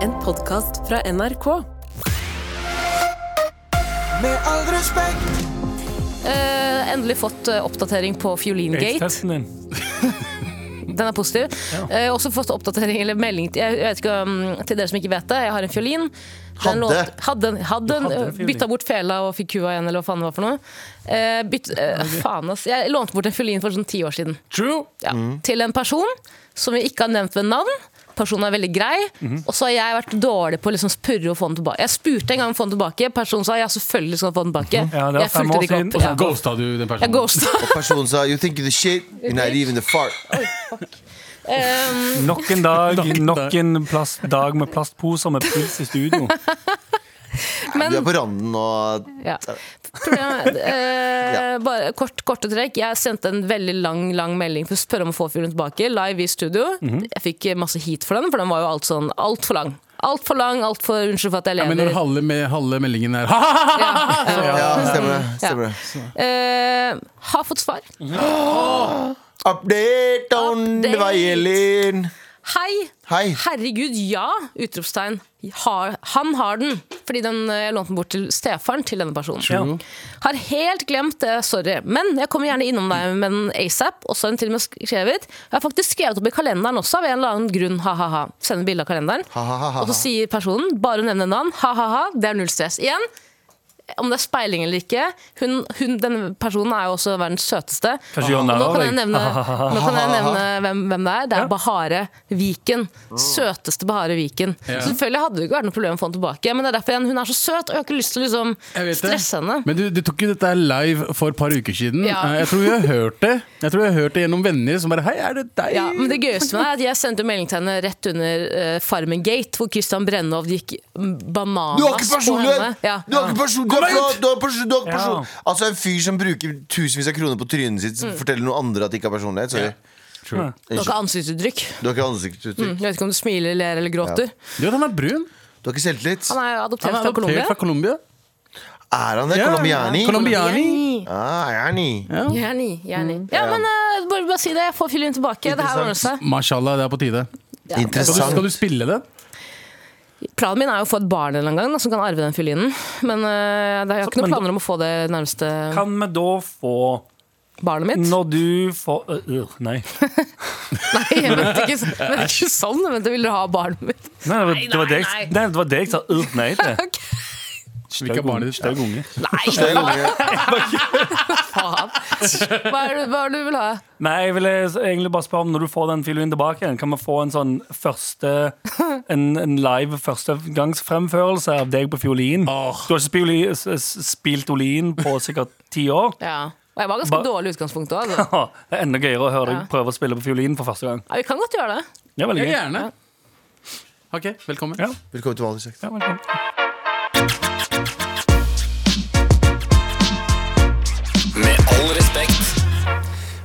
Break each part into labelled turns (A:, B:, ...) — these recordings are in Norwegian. A: podkast fra NRK.
B: Med all respekt,
A: Eh, endelig fått eh, oppdatering på Fiolingate.
C: Aids-testen din.
A: Den er positiv. Eh, også fått oppdatering eller melding til, jeg vet ikke, um, til dere som ikke vet det. Jeg har en fiolin. Den
B: Hadde.
A: låt- hadde, en- hadde,
C: Du hadde en
A: en,
C: fiolin.
A: bytta bort fela og fikk kua igjen, eller hva faen det var for noe. Eh, bytt, eh, faen, ass. Jeg lånte bort en fiolin for sånn ti år siden.
C: True!
A: Ja. Til en person som vi ikke har nevnt ved navn. Personen er veldig grei,
C: Mhm.
A: og så har jeg vært dårlig på å liksom spurre og få den tilbake. Jeg spurte en gang om å få den tilbake, personen sa ja, selvfølgelig skal du få den tilbake.
C: Mhm. Ja, det var
A: jeg
C: fem
A: fulgte
C: år
A: det ikke
C: siden,
A: opp.
C: og så
A: Ja.
D: Ghosta du den personen?
A: Jeg ghosta.
B: personen sa You think you're the shit, you're not even the fart.
A: Um,
C: Nok en dag, nok en plast, dag med plastposer med pris i studio.
B: Du
A: men
B: er på randen og
A: Ja. Problemet, eh, bare kort, korte trekk. Jeg sendte en veldig lang lang melding for å spørre om å få fuglen tilbake. Live i studio.
D: Mhm.
A: Jeg fikk eh, masse heat for den, for den var jo alt sånn altfor lang. Altfor lang, altfor Unnskyld for at jeg
D: Ja, men når
A: lever.
D: halve, med, halve meldingen er ha, ha, ha,
A: Ja, eh,
B: Ja, stemmer det. Stemmer det.
A: eh, har fått svar.
B: Update on
A: Update.
B: the violin.
A: Hei!
B: Hei.
A: Herregud, ja! Utropstegn. Har, han har den. Fordi den, eh, jeg lånte den bort til stefaren til denne personen. Mm.
C: True.
A: Har helt glemt det, sorry. Men jeg kommer gjerne innom deg med en ASAP. Og så har hun til og med skrevet. Jeg har faktisk skrevet opp i kalenderen også, av en eller annen grunn. Ha-ha-ha. Sender bilde av kalenderen.
B: Ha, ha, ha, ha,
A: Og så
B: ha.
A: sier personen, bare hun nevner navn, ha-ha-ha, det er null stress. Igjen, om det er speiling eller ikke, hun, hun, denne personen er jo også verdens søteste.
C: Kanskje gjør
A: Og
C: han narr
A: nå
C: av
A: kan jeg
C: deg?
A: nevne, nå kan jeg nevne hvem, hvem det er. Det
C: Ja.
A: er Bahare Viken. Søteste Bahare Viken.
D: Ja.
A: Så Selvfølgelig hadde det ikke vært noe problem å få henne tilbake, men det er derfor igjen, hun er så søt, og jeg har ikke lyst til å liksom,
D: Jeg vet det.
A: stresse henne.
D: Men du, du tok jo dette live for et par uker siden.
A: Ja.
D: Eh, Jeg tror vi har hørt det Jeg tror vi har hørt det gjennom venner som bare Hei, er det deg?
A: Ja, men det gøyeste med det er at jeg sendte melding til henne rett under eh, Farmen Gate, hvor Christian Brennov gikk bananas
B: Du har ikke
A: henne.
B: personlighet!
A: Ja.
B: Du har ikke person, du har fra- du har person, du har ikke person.
C: Ja.
B: Altså En fyr som bruker tusenvis av kroner på trynet sitt, som forteller noen andre at det ikke har personlighet. Sorry.
A: Mm. Du har ikke ansiktsuttrykk.
B: Du har ikke ansiktsuttrykk.
A: Mm, Jeg vet ikke om du smiler, ler eller gråter.
D: Du vet han er brun.
B: Du har ikke selvtillit.
A: Han er jo adoptert
D: Han er
A: fra Colombia.
D: adoptert fra Colombia.
B: Er han det?
D: Ja,
B: Colombiani?
D: Colombiani. Colombiani.
B: Ah, er han i?
A: Gjerne, gjerne.
B: Mm.
A: Ja, men eh, bare, bare si det. Jeg får filmen tilbake. Det her
B: Interessant.
A: ordner seg.
D: Mashallah, det er på tide. Skal du,
B: Interessant.
D: skal du spille det?
A: Planen min er jo å få et barn en eller annen gang da, som kan arve den fiolinen. Men eh, det- jeg har ikke noen
C: men da-
A: planer om å få det nærmeste
C: Kan vi da få
A: barnet mitt.
C: Når du får øh, øh, Nei.
A: Nei, jeg mente ikke, jeg mente ikke sånn. Jeg mente, vil dere ha barnet mitt?
C: nei det var- det var det jeg
A: nei, nei.
C: nei, det var det jeg sa øh, nei til.
A: Ok.
D: Hvilke barn er det?
C: Stygg unge.
A: Nei, faen! Hva er det hva er det du vil ha?
C: Nei, jeg ville egentlig bare spørre om når du får den filoen tilbake igjen, kan vi få en sånn første En, en live førstegangsfremførelse av deg på fiolin? Du har ikke spioli, s- s- spilt olin på sikkert ti år.
A: Ja. Og jeg var ganske
C: Ba-
A: dårlig i utgangspunktet òg. Altså.
C: Ha, Det er enda gøyere å høre deg prøve å spille på fiolin for første gang.
A: Ja, vi kan godt gjøre det.
C: Det er veldig
D: Ja,
C: gøy.
D: gjerne. Ok, velkommen.
C: Ja.
B: Velkommen til Vanlig sagt.
C: Ja, velkommen.
E: Med all respekt.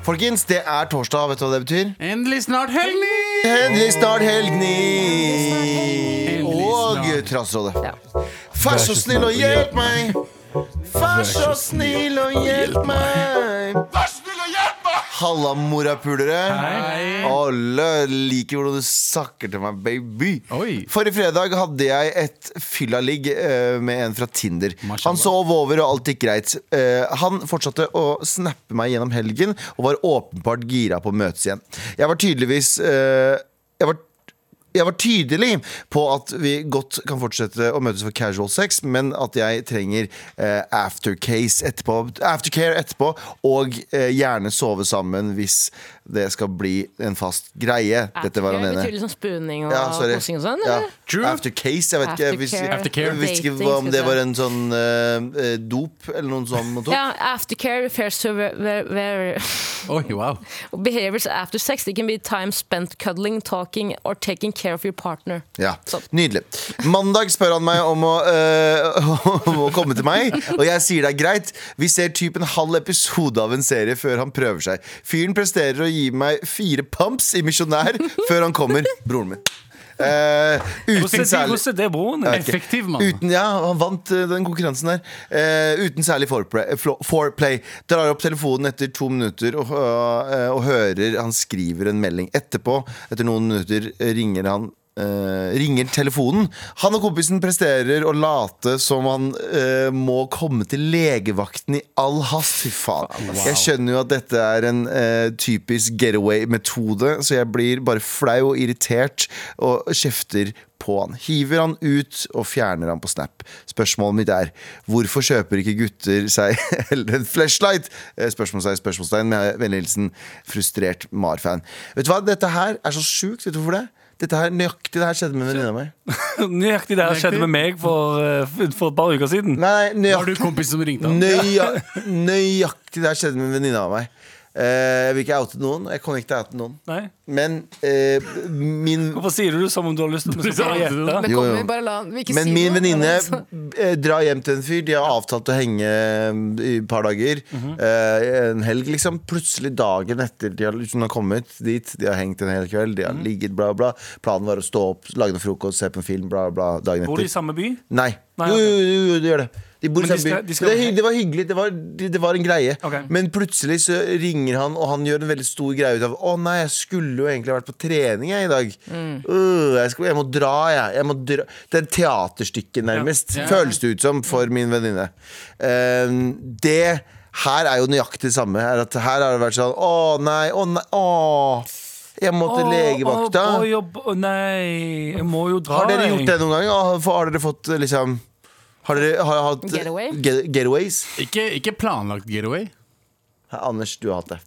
B: Folkens, det er torsdag. Vet du hva det betyr?
D: Endelig snart helg!
B: Endelig snart helgni!
D: Endelig
B: Og
D: snart.
B: Transrådet.
A: Ja.
B: Vær så snill og hjelp meg! Vær så snill og hjelp meg! Vær så snill og hjelp meg! Halla, morapulere.
D: Hei.
B: Alle liker hvordan du sakker til meg, baby.
D: Oi.
B: Forrige fredag hadde jeg et fyllaligg eh, med en fra Tinder.
D: Mashallah.
B: Han sov over, og alt gikk greit. Eh, han fortsatte å snappe meg gjennom helgen, og var åpenbart gira på å møtes igjen. Jeg var tydeligvis eh, Jeg var jeg var tydelig på at vi godt kan fortsette å møtes for casual sex, men at jeg trenger eh, aftercase etterpå, aftercare etterpå, og eh, gjerne sove sammen hvis det skal bli en fast greie. Dette var han
A: Det
B: ene.
A: betyr liksom spooning og
B: Ja, sorry.
A: kosing og sånn?
B: Ja.
A: eller?
D: True.
B: Aftercase, jeg vet ikke. Jeg visste, jeg
D: Aftercare.
B: visste
A: Dating,
B: ikke hva om det
A: skulle
B: var
A: jeg
B: en sånn eh, eh, dop eller noen sånn man tok.
A: Ja, aftercare refers to ver- ver- ver-
D: Oi, wow.
A: behaviors after sex. It can be time spent cuddling, talking or taking care of your partner.
B: Ja,
A: Sånn.
B: Nydelig. Mandag spør han meg om å, eh, om å komme til meg, og jeg sier det er greit. Vi ser typ en halv episode av en serie før han prøver seg. Fyren presterer å gi meg fire pumps i Misjonær før han kommer. Broren min. Eh, uten
C: Hvordan er-
B: særlig
C: hvordan er det broren din?
D: Effektiv mann.
B: Uten, ja, han vant eh, den konkurransen der. Eh, uten særlig foreplay, eh, flo- foreplay. Drar opp telefonen etter to minutter og, hø- eh, og hører han skriver en melding. Etterpå, etter noen minutter, eh, ringer han eh, ringer telefonen. Han og kompisen presterer å late som han eh, må komme til legevakten i all hast. Fy faen. Jeg skjønner jo at dette er en eh, typisk getaway-metode, så jeg blir bare flau og irritert og kjefter på han. Hiver han ut og fjerner han på Snap. Spørsmålet mitt er hvorfor kjøper ikke gutter seg heller en flashlight? Eh, Spørsmålstegn, spørsmålstegn. Med vennlig hilsen frustrert Mar-fan. Vet du hva, dette her er så sjukt. Vet du hvorfor det? Dette her, Nøyaktig det her skjedde med en venninne av meg.
C: Nøyaktig det her skjedde med meg for, eh, for et par uker siden.
B: Nei,
D: Har du
B: nøyaktig,
D: kompis som ringte han?
B: nøya, nøyaktig det her skjedde med en venninne av meg. Eh, jeg vil ikke oute noen. Jeg kommer ikke til å oute noen.
C: Nei.
B: Men eh, min
C: Hvorfor sier du det som om du har lyst til at vi skal
D: Du sa
C: gjette?
D: det.
B: Jo, jo.
A: Kommer, bare la han vi ikke
B: Men
A: si
B: min
A: noe,
B: venninne
A: men altså-
B: eh, drar hjem til en fyr. De har avtalt å henge eh, i et par dager.
A: Mhm.
B: eh, en helg, liksom. Plutselig dagen etter de har, hun har kommet dit, de har hengt en hel kveld, de har
A: Mhm.
B: ligget, bla, bla. Planen var å stå opp, lage noe frokost, se på en film, bla, bla, dagen
C: Bor du
B: etter.
C: i samme by?
B: Nei.
C: Nei,
B: jo,
C: ok.
B: jo, jo, jo, de gjør det. De bor i
C: Men de
B: samme by.
C: skal- de skal-
B: Det, er hy- det var hyggelig. Det var, det, det var en greie.
C: Ok.
B: Men plutselig så ringer han, og han gjør en veldig stor greie ut av Å nei, jeg skulle jo egentlig vært på trening jeg, i dag.
C: Mm.
B: Øh, jeg, skal, jeg må dra, jeg. jeg må dra. Det er et teaterstykke, nærmest. Føles det ut som for min venninne. Eh, det her er jo nøyaktig det samme. Er at her har det vært sånn Å nei, å nei, å. Jeg må til legevakta.
C: Å, å, jobb- å, nei, jeg må jo dra.
B: Har dere
C: jeg.
B: gjort det noen gang? Har- Har dere fått liksom Har dere har hatt eh,
A: Getaway?
B: Get, getaways?
D: Ikke, ikke planlagt getaway.
B: Anders, du har hatt det.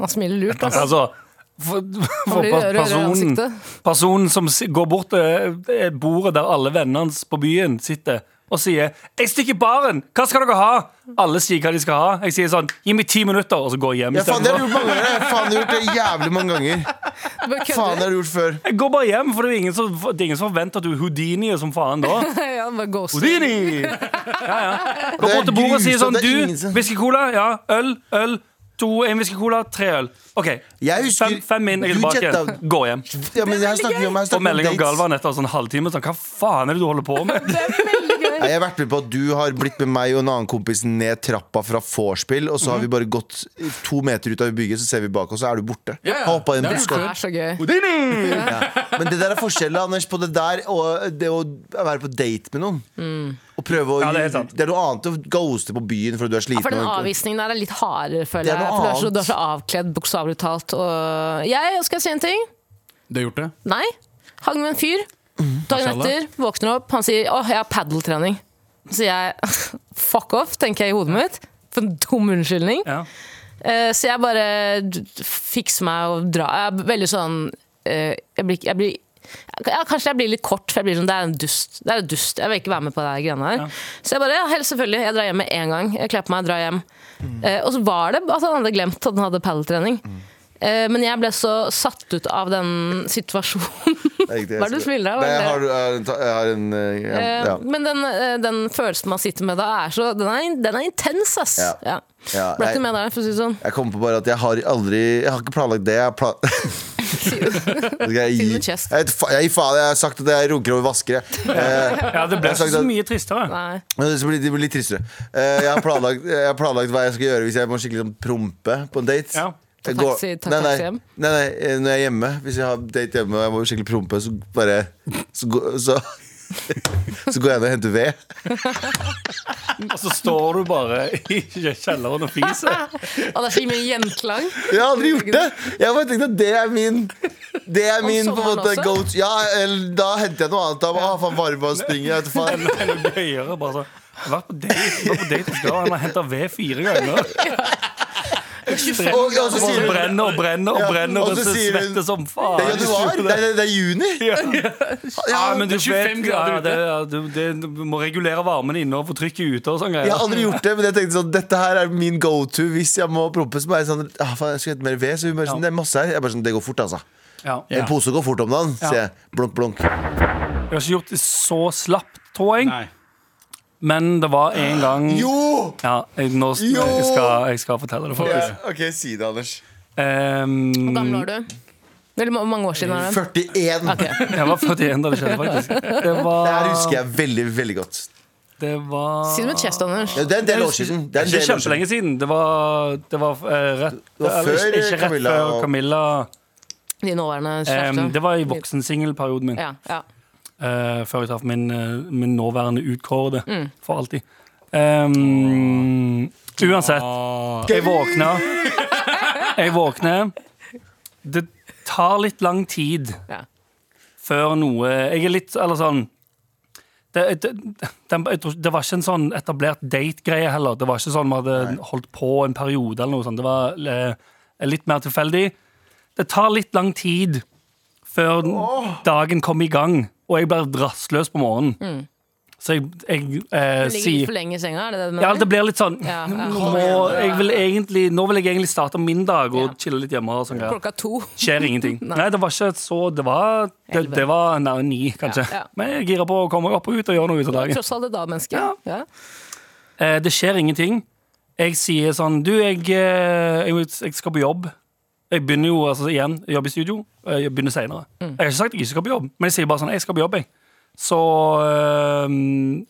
A: Han smiler lurt, altså.
C: Altså, for, for
A: blir
C: pa-
A: rødere i
C: personen,
A: ansiktet.
C: personen som si- går bort til eh, bordet der alle vennene hans på byen sitter, og sier 'Jeg stikker i baren! Hva skal dere ha?' Alle sier hva de skal ha. Jeg sier sånn 'Gi meg ti minutter', og så går jeg hjem.
B: Ja, faen, det har du
C: istedenfor.
B: gjort mange ganger. jeg. Faen, jeg har gjort det jævlig mange ganger.
A: Bare kødder.
B: Faen, det har du gjort før.
C: Jeg går bare hjem, for det er ingen som, det er ingen som forventer at du er Houdini som faen da.
A: Ja, han bare ghoster.
C: Houdini! Ja, ja. Går
B: Det er
C: bort til bordet og sier
B: grusomt,
C: sånn
B: det er ingen
C: Du,
B: som-
C: whisky cola? Ja. Øl? Øl? To, en whisky cola, tre øl. OK.
B: Jeg husker-
C: fem, fem inn, jeg er
B: du
C: tilbake.
B: jetta-
C: igjen. Gå hjem.
B: Ja, men jeg har snakket om, jeg har
C: Og
B: snakket om
C: melding om
B: dates.
C: Galvan etter sånn halvtime. Sånn, Hva faen er det du holder på med?
A: Det er veldig gøy.
B: Nei, Jeg har vært med på at du har blitt med meg og en annen kompis ned trappa fra vorspiel, og så har vi bare gått to meter ut av bygget, så ser vi bak oss, så er du borte.
D: Ja, ja.
B: Har hoppet i en
D: Det er
B: busk.
A: Det
B: og-
A: er så gøy.
B: Men det der er forskjellen Anders, på det der og det å være på date med noen. Og prøve å
C: Ja, det er helt sant.
B: det er noe annet å ghoste på byen fordi du er
A: Ja,
B: sliten.
A: for den
B: og-
A: avvisningen der er litt hardere, føler
B: Det er
A: jeg.
B: noe
A: For du er så,
B: annet.
A: du er så avkledd, bokstavelig talt. Og jeg, skal jeg si en ting?
D: Du har gjort det?
A: Nei. Hang med en fyr.
B: Mm.
A: Dagen
D: Mashallah.
A: etter våkner opp, han sier 'Å, jeg har padeltrening'. Så jeg 'fuck off', tenker jeg i hodet mitt. For en dum unnskyldning.
C: Ja.
A: Eh, Så jeg bare d- d- fikser meg og drar. Jeg er veldig sånn eh, Jeg blir, ikke- jeg blir ja, kanskje jeg blir litt kort, for jeg blir sånn, det er en dust. Det er en dust. Jeg vil ikke være med på det her greiene her. Så jeg bare, ja, helt selvfølgelig, jeg drar hjem med en gang. Jeg kler på meg, drar hjem.
B: Mm.
A: Eh, og så var det at han hadde glemt at han hadde padeltrening. Eh, men jeg ble så satt ut av den situasjonen.
B: Det er riktig, jeg
A: Hva er det du
B: skulle-
A: smiler av?
B: Nei, jeg
A: Var
B: har,
A: det-
B: jeg har en, ta- jeg har en eh,
A: Eh,
B: ja.
A: Men den, eh, den følelsen man sitter med da, er så, den, er, den er intens, ass.
B: Ja.
A: Ja.
B: Ja,
A: ble
B: nei.
A: ikke med der, for å si det sånn.
B: Jeg kom på bare at jeg har aldri Jeg har ikke planlagt det. Jeg har pla Skal jeg,
A: Til
B: gi,
A: med chest.
B: jeg, vet fa- jeg, gir faen, jeg har sagt at jeg runker over vaskere. Eh,
C: ja, det ble
B: Jeg har sagt
C: så
B: at-
C: mye tristere.
A: Nei.
B: men det blir, det blir litt tristere. Eh, jeg, har planlagt, jeg har planlagt hva jeg skal gjøre hvis jeg må skikkelig sånn prompe på en date.
C: Ja.
A: Ta
B: Jeg går-
A: taxi- ta
B: nei, nei,
A: taxi hjem.
B: Nei, nei, eh, når jeg er hjemme. Hvis jeg har date hjemme og jeg må skikkelig prompe, så bare Så, går- så, så går jeg ned og henter ved.
C: Og så står du bare i kjelleren og fiser.
A: Og det er så mye gjenklang.
B: Jeg har aldri gjort det! Jeg har bare tenkt at det er min Det er min på en
A: sommeren
B: måte
A: også?
B: go to Ja, eller da henter jeg noe annet. Da ah, faen, bare bare springer jeg. vet du faen.
C: Eller gøyere, bare sånn. Jeg har vært på date, jeg har vært på date hos Galvan. Han har henta ved fire ganger.
B: Og, og så
C: Og
B: sier hun
C: brenner og brenner og
B: Ja,
C: brenner,
B: og
C: og
B: så
C: det
B: sier hun-
C: svetter som
B: Det er
C: faen.
B: januar! Det er, det er juni!
C: Ja, men du
D: Det er 25
C: vet, ja,
D: grader ute.
C: det, ja, du, det, du må regulere varmen inne og få trykket ute og sånn
B: Jeg
C: greier.
B: har aldri gjort det, men jeg tenkte sånn dette her er min go to hvis jeg må prompe. Så bare sånn, ah, faen, jeg skulle hente mer ved, så hun bare sånn, det er masse her. Jeg bare sånn, Det går fort, altså.
C: Ja.
D: Ja.
B: En pose går fort om dagen, sier jeg. Blunk, blunk.
C: Jeg har ikke gjort det så slapt, tror jeg.
D: Nei.
C: Men det var en gang
B: Jo!
C: Ja, jeg, nå,
B: Jo!
C: jeg, skal, jeg skal fortelle det,
B: Ja,
C: faktisk.
B: OK, si det, Anders.
C: Ehm,
A: Hvor gammel var du? Eller hvor mange år siden er
C: Mm.
A: det?
B: 41.
A: Ok.
C: jeg var 41 da det skjedde, faktisk. Det
B: Det her
C: var,
B: husker jeg veldig, veldig godt.
C: det var
A: Si det med chest, Anders.
B: Det er en del år siden. Det er en
C: ikke
B: del år siden.
C: kjempelenge siden. Det var, det var eh, rett
B: var
C: eller
B: før
C: Ikke, ikke rett
B: Camilla
C: før
B: og-
C: Camilla
A: De nåværende
C: Em,
A: kjæreste.
C: det var i voksensingelperioden min,
A: Ja, ja.
C: eh, før jeg traff min, eh, min nåværende utkårede for alltid. Em, uansett, jeg våkna Jeg våkner. Det tar litt lang tid
A: ja.
C: før noe Jeg er litt eller sånn det, det, den, jeg tror, det var ikke en sånn etablert date-greie heller. Det var ikke sånn Vi hadde holdt på en periode eller noe sånt. Det var eh, litt mer tilfeldig. Det tar litt lang tid før den- dagen kommer i gang, og jeg blir rastløs på morgenen. Så jeg, jeg
A: Du
C: eh,
A: ligger litt
C: sier
A: for lenge i senga, er det det du
C: ja,
A: mener?
C: det blir litt sånn
A: Ja, ja.
C: Nå, må- jeg vil egentlig, nå vil jeg egentlig starte min dag og
A: Ja.
C: chille litt hjemme. og sånn greier
A: Klokka to.
C: skjer ingenting. Nei, det var ikke så Det var, det,
A: Elleve.
C: det var nær ni, kanskje.
A: Ja, ja.
C: Men jeg girer på å komme opp og ut og gjøre noe ut av dagen.
A: Tross alt et da-menneske. Ja.
C: Eh, det skjer ingenting. Jeg sier sånn Du, jeg, eh, jeg, jeg skal på jobb. Jeg begynner jo altså, igjen, jeg jobber i studio. eh, Jeg begynner senere. Jeg har ikke sagt jeg ikke skal på jobb, men jeg sier bare sånn Jeg skal på jobb, jeg. Så eh,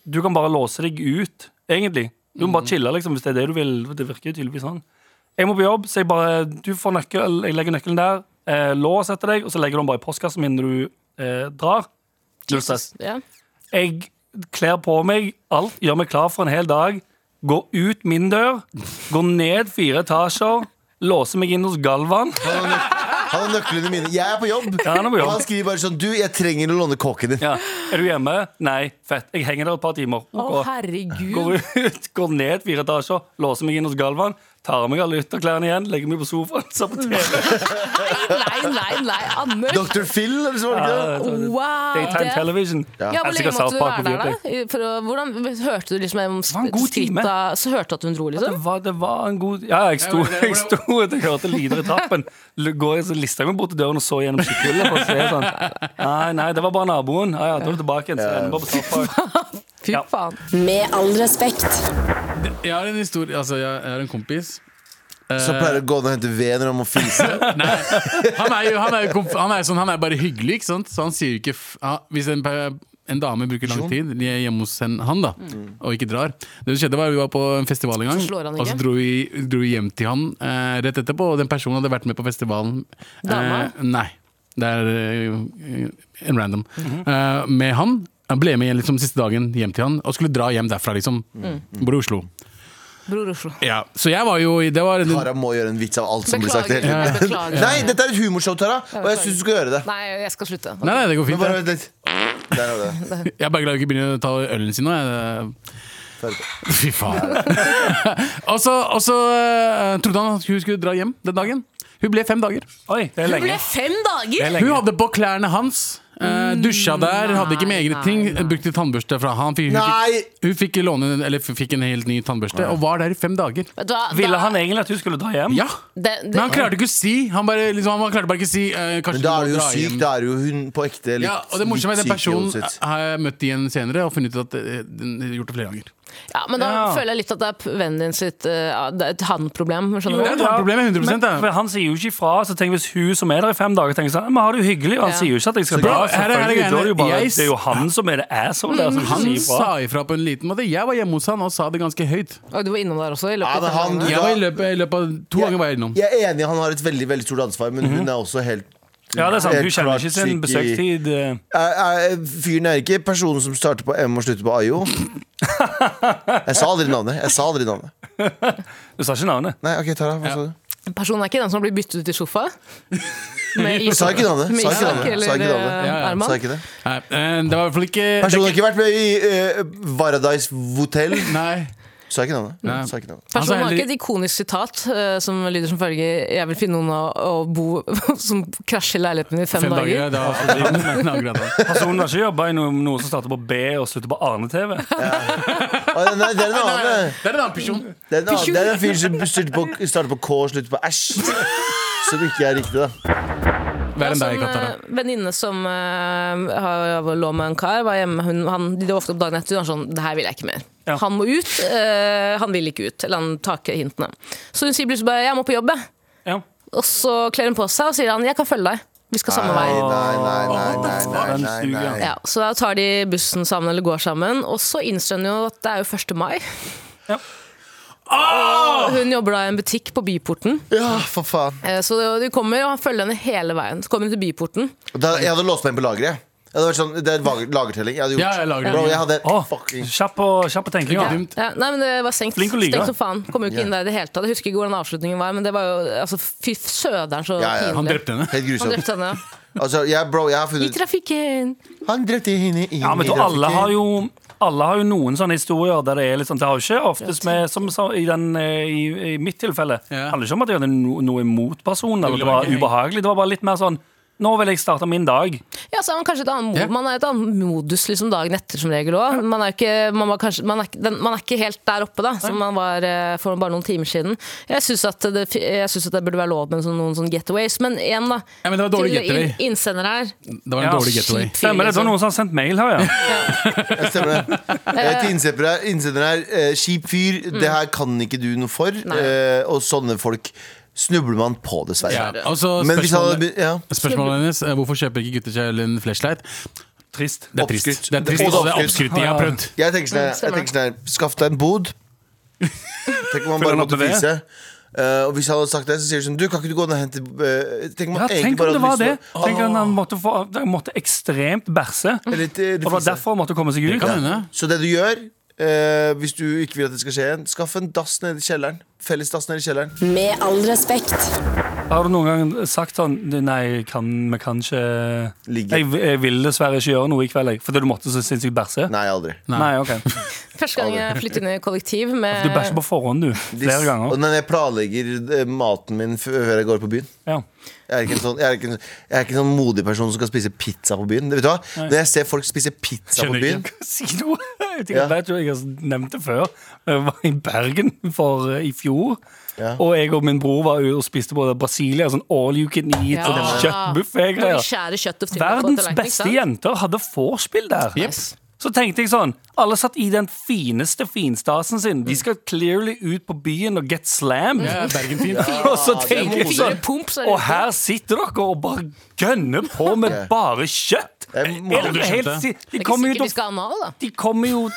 C: du kan bare låse deg ut, egentlig. Du må bare chille, liksom, hvis det er det du vil. Det virker jo tydeligvis sånn. Jeg må på jobb, så jeg bare Du får nøkkel, jeg legger nøkkelen der. Eh, lås etter deg, og så legger du den bare i postkassen min når du eh, drar. Null stress.
A: Ja.
C: Jeg kler på meg alt, gjør meg klar for en hel dag. Går ut min dør, går ned fire etasjer, låser meg inn hos Galvan.
B: Han har nøk- han har nøklene mine. Jeg er på jobb.
C: Ja, han er på jobb.
B: Og han skriver bare sånn Du, jeg trenger å låne kåken din.
C: Ja. Er du hjemme? Nei. Fett. Jeg henger der et par timer.
A: Å,
C: Ok.
A: herregud.
C: Går ut, går ned fire etasjer, låser meg inn hos Galvan, tar av meg alle ytterklærne igjen, legger meg på sofaen, ser på TV.
A: Nei, nei, nei, Anders.
B: Dr. Phil, eller så var det ikke det?
A: Wow.
C: Daytime
A: det-
C: television.
A: Ja, Hvor
C: Jeg
A: lenge
C: sikkert
A: måtte du
C: South Park
A: være
C: på
A: der,
C: Viaplay.
A: da? For å, hvordan, hørte du liksom en
C: var en god time.
A: skritta Så hørte du at hun dro, liksom?
D: Altså?
C: Det var, det var en god Ja, jeg sto, jeg sto og jeg hørte lyder i trappen. L- Går jeg så lista jeg meg bort til døren og så gjennom skikkhullet for å se sånn. Nei, nei, det var bare naboen. Ja, ja, da er du tilbake igjen. Så jeg ender bare på South Park.
A: Fy
C: Ja.
A: faen.
F: Med all respekt.
D: Jeg har en historie Altså, jeg jeg har en kompis.
B: Så pleier det å gå ned og hente ved når han må fise.
D: Nei, han er jo, han er jo komf han er sånn, han er bare hyggelig, ikke sant? Så han sier jo ikke f ja, Hvis en, pe- en dame bruker lang tid hjemme hos en, han, da, og ikke drar Det som skjedde, var vi var på en festival en
A: Mm.
D: gang,
A: Så slår han
D: og så
A: ikke?
D: dro vi, dro vi hjem til han eh, rett etterpå, og den personen hadde vært med på festivalen.
A: Dama?
D: Eh, nei. Det er eh, en random.
A: Mhm.
D: eh, med han. Han ble med igjen liksom, siste dagen hjem til han, og skulle dra hjem derfra, liksom.
A: Mm.
D: Bor i Oslo.
A: Bror Oslo.
D: Ja. Så jeg var jo i- Det var
B: Tara må gjøre en vits av alt som blir sagt. i hele tiden.
A: Beklager. Beklager.
B: Nei, dette er et humorshow, Tara, og jeg syns du skal gjøre det.
A: Nei, jeg skal slutte.
D: Nei, nei, det går
B: Men
D: fint.
B: bare
D: det.
B: vent litt. Der var det.
D: Jeg er bare glad jeg ikke begynner å ta ølen sin nå. Jeg, eh,
B: Ferdig.
D: Fy faen. og så, og så eh, trodde han at hun skulle dra hjem den dagen. Hun ble fem dager.
C: Oi, det er
A: Det ble
C: lenge.
A: fem
C: Det
A: dager!
C: er lenge.
D: Hun hadde på klærne hans. eh, dusja der, hadde ikke med egne
A: Mm. nei,
D: ting.
A: nei.
D: Brukte tannbørste fra han. Fikk, hun,
B: Nei!
D: fikk, hun fikk, låne, eller fikk en helt ny tannbørste, og var der i fem dager.
A: Vet du hva,
C: Ville
A: da-
C: han egentlig at hun skulle dra hjem?
D: Ja!
A: det, det,
D: Men han klarte ikke å si. Han, bare, liksom, han klarte bare ikke å si eh,
B: Men
D: Kanskje
B: da er det
D: du må
B: jo
D: dra
B: syk.
D: hjem.
B: Da er det jo hun på ekte litt,
D: Ja, og det morsomme er Den
B: litt syk i hodet
D: personen
B: sitt.
D: har jeg møtt igjen senere og funnet ut at eh, den har gjort det flere ganger.
A: ja, men da
C: Ja.
A: føler jeg litt at det er p- vennen din sitt eh, ja, Det er et han-problem.
D: Jo,
A: Skjønner
D: det er
A: du?
D: et annet problem, 100% da.
C: Men- for Han sier jo ikke ifra. Så tenk Hvis hun som er der i fem dager, tenker sånn Men har det jo hyggelig. Og han
A: Ja.
C: sier jo ikke at jeg skal
D: Bro,
C: dra.
D: her er- her er
C: selvfølgelig. Da er det, jo
D: greiene.
C: bare,
D: Jeg- Mm,
C: det er jo han som er det asshole der, som ikke
D: Han
C: sier ifra.
D: sa ifra på en liten måte. Jeg var hjemme hos han og sa det ganske høyt.
A: Og du var innom der også? I løpet
B: Ja,
A: av
B: men
A: fem
B: han-
A: dager.
D: Jeg var i løpet, i løpet av To ganger var jeg innom. Mhm.
B: Jeg er enig, han har et veldig veldig stort ansvar, men hun er også helt
C: Ja, det er sant.
B: helt
C: Hun kjenner ikke
B: klart
C: sin
B: syk i-
C: besøkstid. eh.
B: Er- er- Fyren er ikke personen som starter på M og slutter på AIO. Jeg sa aldri navnet. Jeg sa aldri navnet.
C: Du sa ikke navnet.
B: Nei, ok, Tara, hva sa du?
A: Personen er ikke den som blir byttet ut i sofa? Med is-
B: Sa ikke navnet,
A: med
B: sa ikke
A: Isak
B: navnet, sa
A: eller
B: ikke navnet.
A: eh,
D: Ja, ja,
B: Sa
A: Arman?
B: jeg ikke det?
D: Nei, eh, det var i hvert fall ikke det er
B: Personen har
D: ikke-
B: ikke vært med i eh, Paradise Hotel.
D: Nei.
B: Sa jeg ikke navnet.
D: Nei.
B: Sa jeg ikke navnet.
D: Han sa
A: Personen har ikke
D: heller-
A: et ikonisk sitat eh, som lyder som følger Jeg vil finne noen å, å bo som krasjer i leiligheten min i fem,
D: Fem
A: dager.
D: dager. Da, Nei, akkurat da.
C: Personen har ikke jobba i noe, noe som starter på B og slutter på Arne-TV.
B: Å, Nei, det er en annen.
D: Det er en annen person.
B: Det er en, annen. Det er en fyr som starter på, starter på K og slutter på æsj. Som ikke er riktig, da.
D: Verre enn deg,
A: Sånn,
D: Katara.
A: eh, venninne som eh, har- lå med en kar, var hjemme hun, han, De var ofte opp dagen etter. Hun var sånn 'Det her vil jeg ikke mer'.
C: Ja.
A: Han må ut. eh, han vil ikke ut. Eller han tar ikke hintene. Så hun sier plutselig bare 'Jeg må på jobb', jeg.
C: Ja.
A: Og så kler hun på seg og sier han 'Jeg kan følge deg'. Vi skal samme
B: Nei,
A: vei.
B: nei, nei, nei, nei, nei, nei, nei.
A: Ja, så da tar de bussen sammen eller går sammen. Og så innser hun jo at det er jo 1. mai. Hun jobber da i en butikk på Byporten.
B: Ja, for faen.
A: Eh, Så de kommer og følger henne hele veien. Så kommer hun til Byporten.
B: Da, jeg hadde låst meg inn på lageret. Jeg hadde vært sånn, det er vager- lagertelling. Jeg hadde gjort.
D: Ja, jeg lager det.
B: Bro, jeg hadde
C: Å,
B: fucking
C: kjapp på, kjapp på tenking.
D: Ikke
C: Ja.
D: dumt.
A: Ja, nei, men det var stengt.
C: Flink å lyge,
A: Stengt
C: da.
A: som faen. Kom jo ikke inn der i det hele tatt. Jeg husker ikke hvordan avslutningen var, men det var jo altså, Fy søderen, så
B: Ja, ja.
D: Han
A: pinlig.
D: drepte henne.
B: Helt
A: Han
B: grusomt.
A: drepte henne.
B: Altså, jeg, bro, jeg har
A: ja. I
B: funnet
A: trafikken!
B: Han drepte henne inn
C: Ja, men
B: i
C: jeg tror alle
B: trafikken.
C: har jo alle har jo noen sånne historier der det er litt sånn Det har jo ikke oftest med som, sa- i, den, eh, i, I mitt tilfelle. Det
D: Ja.
C: handler ikke om at jeg hadde no, noe imot personen, eller at det
D: ville
C: var
D: være gøy.
C: ubehagelig. Det var bare litt mer sånn Nå vil jeg starte min dag.
A: Ja, så er man kanskje et annet mod.
D: Ja.
A: Man er et annet modus liksom dagen etter som regel òg. Man, er jo ikke- man, var kanskje- man, er ikke- den- man er ikke helt der oppe, da, som man var eh, for bare noen timer siden. Jeg syns at, det- jeg synes at det burde være lov med sånn- noen sånne getaways, men igjen, da.
D: Ja, men det var dårlig
A: til
D: getaway.
A: inn- innsender her.
D: Det var en
A: eh,
C: Ja,
D: dårlig getaway.
A: skip.
C: Stemmer det? Det var noen som har sendt mail her, ja.
D: sånn.
B: Ja, Stemmer det. Eh, til innsender her, innsender her eh, Kjip fyr,
D: Mm.
B: det her kan ikke du noe for. Eh, og sånne folk snubler man på,
D: Ja.
B: dessverre.
D: Og så
B: Men hvis han hadde
D: spørsmålet,
B: be- ja.
D: spørsmålet hennes eh, hvorfor kjøper ikke gutter seg en flashlight?
C: Trist.
D: Det er trist.
B: Oppskrytt.
D: Det er trist,
B: Og det er
D: og det er
B: oppskrytt.
D: oppskrytt. Jeg har prøvd.
B: Jeg tenker sånn her, jeg
A: Stemmer.
B: tenker sånn her Skaff deg en bod. Tenk om han
C: Følger
B: bare
C: han
B: måtte
C: opp med det?
B: vise. Eh, og hvis han hadde sagt det, så sier du sånn Du, kan ikke du gå ned og hente eh, Tenk om
C: Ja,
B: han egentlig
C: tenk om
B: bare
C: det
B: hadde
C: var
B: lyst
C: det.
B: til å
C: Tenk om han måtte, få, han måtte ekstremt bæsje. Og
B: Eller til-
C: det var derfor han måtte komme seg
D: Det
C: ut.
D: kan hende.
B: Så det du gjør, eh, hvis du ikke vil at det skal skje igjen, skaff en dass nede i kjelleren. Felles dass nede i kjelleren.
F: Med all respekt.
C: Har du noen gang sagt sånn Nei, kan, vi kan ikke
B: Ligge.
C: jeg, jeg vil dessverre ikke gjøre noe i kveld, jeg. Fordi du måtte så sinnssykt bæsje?
B: Nei, aldri.
C: Nei, ok.
A: Første gang jeg flyttet inn i kollektiv med
C: Altså, Du bæsjer på forhånd, du. Flere
B: Dis- Og
C: ganger.
B: når jeg planlegger eh, maten min f- før jeg går på byen
C: Ja.
B: jeg er, ikke en sånn, jeg, er ikke en, jeg er ikke en sånn modig person som skal spise pizza på byen. Vet du hva? Når jeg ser folk spise pizza
D: Skjønner
B: på byen
D: ikke.
C: Si noe! Jeg tenker,
B: Ja.
C: jeg vet jo, jeg har nevnt det før. Jeg var i Bergen for, eh, i fjor.
B: Ja.
C: Og jeg og min bror var ute og spiste på Brasilia. Sånn all you can eat
A: Ja.
C: og
A: Når de
C: sånn kjøttbuffé-greier.
A: skjærer kjøtt og trykker på
C: Verdens
A: tallerkenen, ikke
C: beste
A: sant?
C: jenter hadde vorspiel der.
D: Jepp.
C: Så tenkte jeg sånn Alle satt i den fineste finstasen sin. De skal clearly ut på byen og get slammed.
D: Ja, Bergenfint.
C: Og så tenker jeg
A: Fire
C: sånn
A: pumps er
C: Og her sitter dere og bare gønner på med bare kjøtt!
B: Det er moro.
C: Er dere helt si De
A: Det er ikke
C: kommer jo
A: sikkert
C: til
A: vi skal ha anal, da.
C: De kommer jo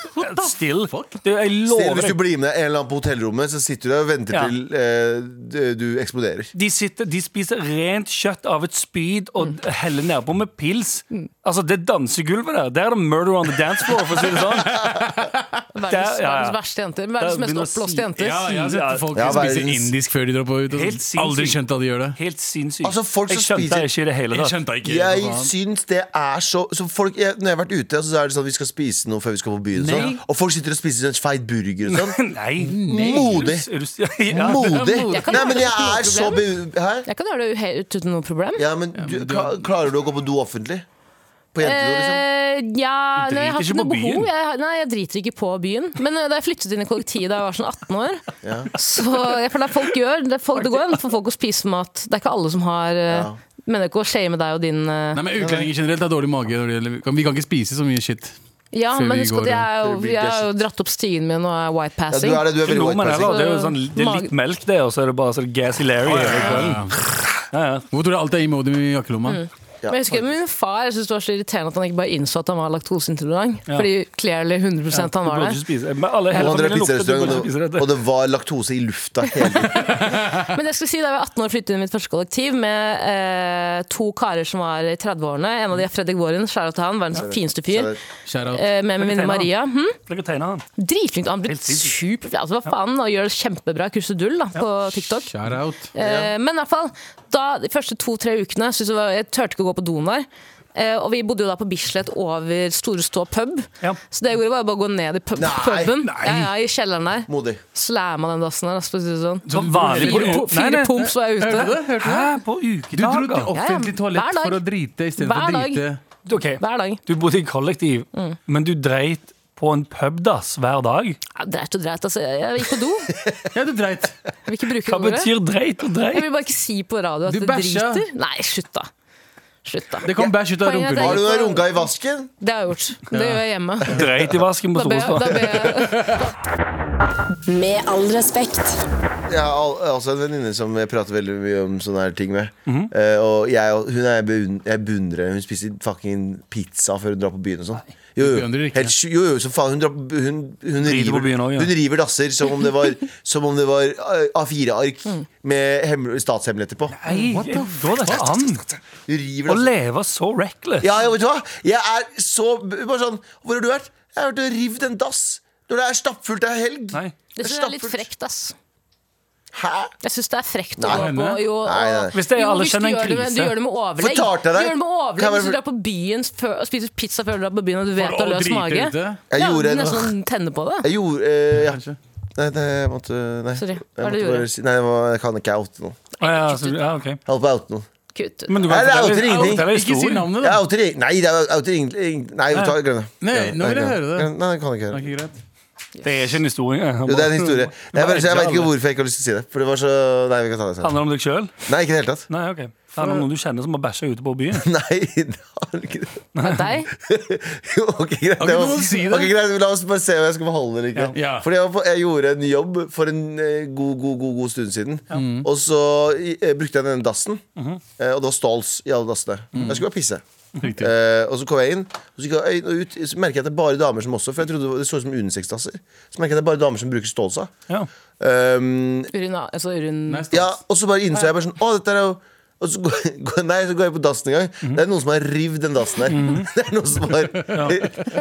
C: Still. Det, jeg
B: Selv
C: lover
B: Hvis du
C: deg.
B: blir med en eller annen på hotellrommet, så sitter du der og venter
C: Ja.
B: til eh, du- du eksploderer.
C: De, sitter, de spiser rent kjøtt av et spyd og
A: Mm.
C: heller nedpå med pils. Altså, det dansegulvet der, der er det murder on the dance floor, for å si det sånn.
A: Verdens,
C: Det er- ja, ja.
A: verdens verste jenter. Verdens
C: Det er-
A: mest oppblåste jenter.
D: Ja, jeg
C: Ja.
D: har sett folk
B: Ja,
D: spise
B: verdens-
D: indisk før de drar på ut. og
C: Helt
D: sånn. Aldri
C: sinnssykt.
D: skjønt at de gjør det.
C: Helt sinnssykt.
B: Altså, folk
C: jeg
B: som
C: skjønte
B: spiser-
C: det ikke i det hele
D: Jeg
C: tatt.
D: skjønte ikke.
B: Jeg
D: hva faen.
B: syns det er så, så folk, jeg, Når jeg har vært ute, så er det sånn vi skal spise noe før vi skal på byen. Og, sånn,
C: Nei.
B: og folk sitter og spiser sånn feit burger og sånn.
C: Nei.
B: Modig.
C: Er du- er du- ja.
B: Modig!
A: Jeg kan
B: Nei, men jeg
A: gjøre
B: er
A: det
B: så
A: uten
B: be... Hæ?
A: Jeg kan gjøre det helt uten noe problem.
B: Ja, men du, kla- klarer du å gå på do offentlig? På jentedo, liksom?
A: Eh, ja,
C: Du
A: nei, jeg har
C: driter
A: ikke
C: ikke
A: noe
C: på
A: behov.
C: byen.
A: Jeg, nei, jeg driter ikke på byen. Men eh, da jeg flyttet inn i kollektivet da jeg var sånn 18 år Så jeg- For det er folk gjør det, er folk, det går an for folk å spise mat. Det er ikke alle som har eh,
B: Ja.
A: Mener ikke å shame deg og din eh,
D: Nei, men Utlendinger generelt har dårlig mage. når det gjelder- Vi kan ikke spise så mye shit.
A: Ja,
D: før
A: men
D: vi
A: husk
D: går,
A: at jeg, er
B: før
A: jo-
B: vi blir
A: jeg har jo
B: gasset.
A: dratt opp stigen min og er white
B: Ja, du
A: passing.
B: er det, du er
C: Ikke
B: veldig
C: nordmenn
B: white
C: heller.
B: passing.
C: Det er jo sånn, det er litt melk, det, og så er det bare sånn gassy Larry.
A: Sånn
D: Ja. Hvorfor tror du alltid er Imodium i jakkelomma?
B: Ja.
A: Men jeg husker min far jeg synes det var så irriterende at han ikke bare innså at han var laktoseintolerant. Fordi clearly 100 han var det.
C: Men alle hele
B: Og han drev
C: familien lukter, du burde ikke spise
B: pizzarestaurant,
C: dette.
B: og det var laktose i lufta hele tiden.
A: Men det jeg skulle si, da jeg var 18 år flyttet inn i mitt første kollektiv med eh, to karer som var i 30-årene. En av de er Fredrik Våren, skjæra til han, verdens fineste fyr.
D: Skjær av.
A: Eh, med min venninne Maria. Hm?
C: Legg og tegne han.
A: Dritflink. Han ble
C: Helt sinnssykt.
A: superflink. Altså, hva faen, og gjør det kjempebra kursedull da, på TikTok.
D: Skjær out.
A: Eh, men i hvert fall, da, de første to-tre ukene synes jeg, var, jeg tørte ikke å gå på doen der. Eh, og vi bodde jo da på Bislett over Store Stå pub.
C: Ja.
A: Så det jeg gjorde, var bare å gå ned i pub,
B: Nei,
A: puben.
B: nei.
A: Ja, ja, I kjelleren der.
B: Modig.
A: Slamma den dassen der. altså, for å si det sånn.
C: Som vanlig
A: Fire,
C: på-
A: pu- fire pumps var jeg ute.
D: Hørte du det? Hørte du det?
C: Hæ, på
D: Du dro til
C: ukedager?
D: offentlig
A: Ja, ja. Hver
D: toalett
A: dag.
D: for å drite istedenfor
A: Hver
D: å
A: dag.
D: drite.
C: Ok,
A: Hver dag.
C: du bodde i kollektiv,
A: Mm.
C: men du dreit på en pubdass hver dag.
A: Ja, dreit og dreit. Altså, jeg jeg gikk på do.
D: Ja, du dreit.
A: Jeg vil ikke bruke
C: Hva
A: det ordet.
C: betyr dreit og
A: Jeg
C: dreit?
A: vil bare ikke si på radio at
D: Du
A: det
D: bæsja.
A: driter. Nei, slutt, da. Slutt, da.
D: Det kom bæsj ut av
A: Poenget er at
D: rumpehullet.
B: Har du noen runka i vasken?
A: Det har jeg gjort. Det gjør jeg hjemme.
C: Dreit i vasken på
A: Da ber jeg,
C: Storstad.
A: da ber jeg
F: Med all respekt.
B: Jeg har al altså en venninne som jeg prater veldig mye om sånne her ting med.
C: Mhm.
B: Eh, og jeg, og- hun er beund jeg beundrer henne. Hun spiser fucking pizza før hun drar på byen og sånn. Jo, jo,
D: beundrer ikke.
B: Helt sj- jo, jo, så faen, hun, drar, på- hun, hun, river,
C: på byen også, ja.
B: hun river dasser som om det var, som om det var eh, A4-ark med hemmel- statshemmeligheter på.
C: Nei, går det ikke an
B: Hun river
C: å
B: dasser.
C: leve så reckless?
B: Ja, ja, vet du hva? Jeg er så Bare sånn Hvor har du vært? Jeg har vært og rivd en dass. Når det er stappfullt, det er helg.
C: Nei.
A: Det synes jeg er litt frekt, ass.
B: Hæ?
A: Jeg syns det er frekt å
B: Nei.
A: gå på. Jo, og,
B: Nei, nei.
C: Hvis det er
A: jo,
C: alle
A: hvis du
C: kjenner en
A: gjør det med- Du
C: krise.
A: gjør det med overlegg.
B: Fortalte jeg deg?
A: Du gjør det med
B: Kan
A: overlegg
B: jeg bare-
A: Hvis du drar på byen før, og spiser pizza før du drar på byen, og du vet du
D: For
A: har
D: å
A: løs
D: drite
A: mage.
D: ute?
B: Jeg
A: Ja,
B: gjorde
A: du
B: en-
A: nesten tenne på det.
B: Jeg gjorde eh, Ja.
D: Kanskje.
B: Nei, det jeg måtte Nei.
A: Sorry,
B: Jeg
A: hva er det
B: måtte
A: du
B: bare
A: gjorde?
B: si- Nei, jeg, må, jeg kan ikke oute noen.
C: Å, Ah, ja, så, ja, ok.
B: Jeg holdt på å oute noen.
A: Kutt ut.
C: Men du
B: Nei,
C: kan
B: det er
C: fortelle,
B: jo til ingenting.
C: fortelle
D: Ikke si
C: historien.
D: navnet,
B: Jeg
D: da.
B: outer ingen- Nei, det er outer ingen ingen- Nei, vet du hva, glem det.
D: Nei,
B: Glem det.
D: nå vil jeg
B: Glem
D: høre det.
B: Glem- Nei, jeg kan ikke høre det.
D: Ikke greit.
C: Det er ikke en historie.
B: Jo, det er en historie. Jeg, bare, jeg vet ikke hvorfor jeg ikke har lyst til å si det. For det var så Nei, vi kan ta det senere.
C: Handler det om deg sjøl?
B: Nei, ikke i det hele tatt.
C: Nei, ok. Det handler om noen du kjenner som har bæsja ute på byen.
B: Nei, det har ikke det.
A: Det er deg.
B: Jo, ok, greit.
D: Har ikke
B: Det var-
D: noe å si det.
B: Ok, greit. La oss bare se om jeg skal beholde det eller ikke.
D: Ja. Ja.
B: Fordi jeg, var på, jeg gjorde en jobb for en eh, god, god, god, god stund siden.
D: Mm.
B: Og så eh, brukte jeg denne dassen,
D: Mhm.
B: eh, og det var stalls i alle dassene.
D: Mm.
B: Jeg skulle bare pisse.
D: Riktig.
B: Eh, og så kom jeg inn, og så gikk jeg inn og ut Så merket jeg at det er bare damer som også For jeg trodde det var- det så ut som unisex-dasser. Så merket jeg at det er bare damer som bruker stallsa.
C: Ja.
B: Um,
A: Urina, altså urin...
D: Nei, stopp.
B: ja, og så bare innså jeg bare sånn Å, dette er jo og så går, går- nei, så går jeg på dassen en gang. Det er noen som har rivd den dassen her.
C: Mhm.
B: Det er noen som har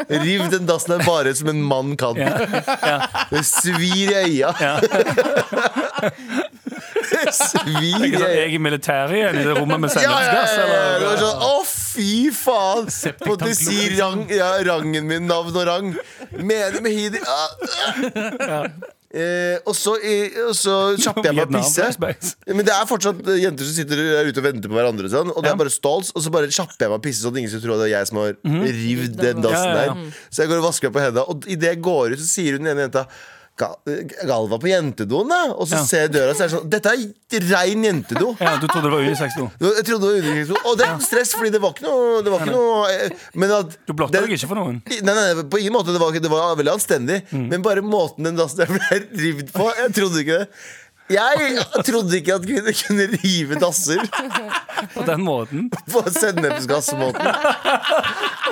B: rivd den dassen her bare som en mann kan. Det svir i øya. Det svir i
C: Ikke sånn,
B: øya.
C: jeg er i militæret igjen i det rommet med
B: Ja, ja,
C: sennepsgass,
B: ja, ja. Det
C: eller?
B: var sånn, Å, fy faen! Måtte si rang, ja, rangen min, navn og rang. Mener med hidi ah, ah. eh, Og så, i- og så kjappte jeg meg å
C: Vietnam,
B: pisse.
C: flashbacks.
B: Men det er fortsatt eh, jenter som sitter der ute og venter på hverandre. og Sånn, og det
C: Ja. Mhm.
B: er bare stalls, og så bare kjapper jeg meg å pisse sånn at ingen skal tro at det er jeg som har rivd den dassen
C: Ja, ja,
B: der.
C: ja.
B: Så jeg går og vasker meg på hendene, og idet jeg går ut, så sier hun den ene jenta "Ga- eh, Galva på jentedoen, da. Og så
C: Ja.
B: ser jeg døra, så er det sånn Dette er rein jentedo.
C: Ja, du trodde det var unisex nå.
B: Jo, Jeg trodde det var undergrunnsblod. Og det er stress, fordi det var ikke noe, det var ikke noe eh, Men at
C: Du blotta
B: det-
C: deg ikke for noen.
B: Nei, nei, nei, på ingen måte. Det var, ikke- det var veldig anstendig. Men bare måten den dassen der ble revet på Jeg trodde ikke det. Jeg trodde ikke at kvinner kunne rive dasser
C: På den måten.
B: på sennepsgassmåten.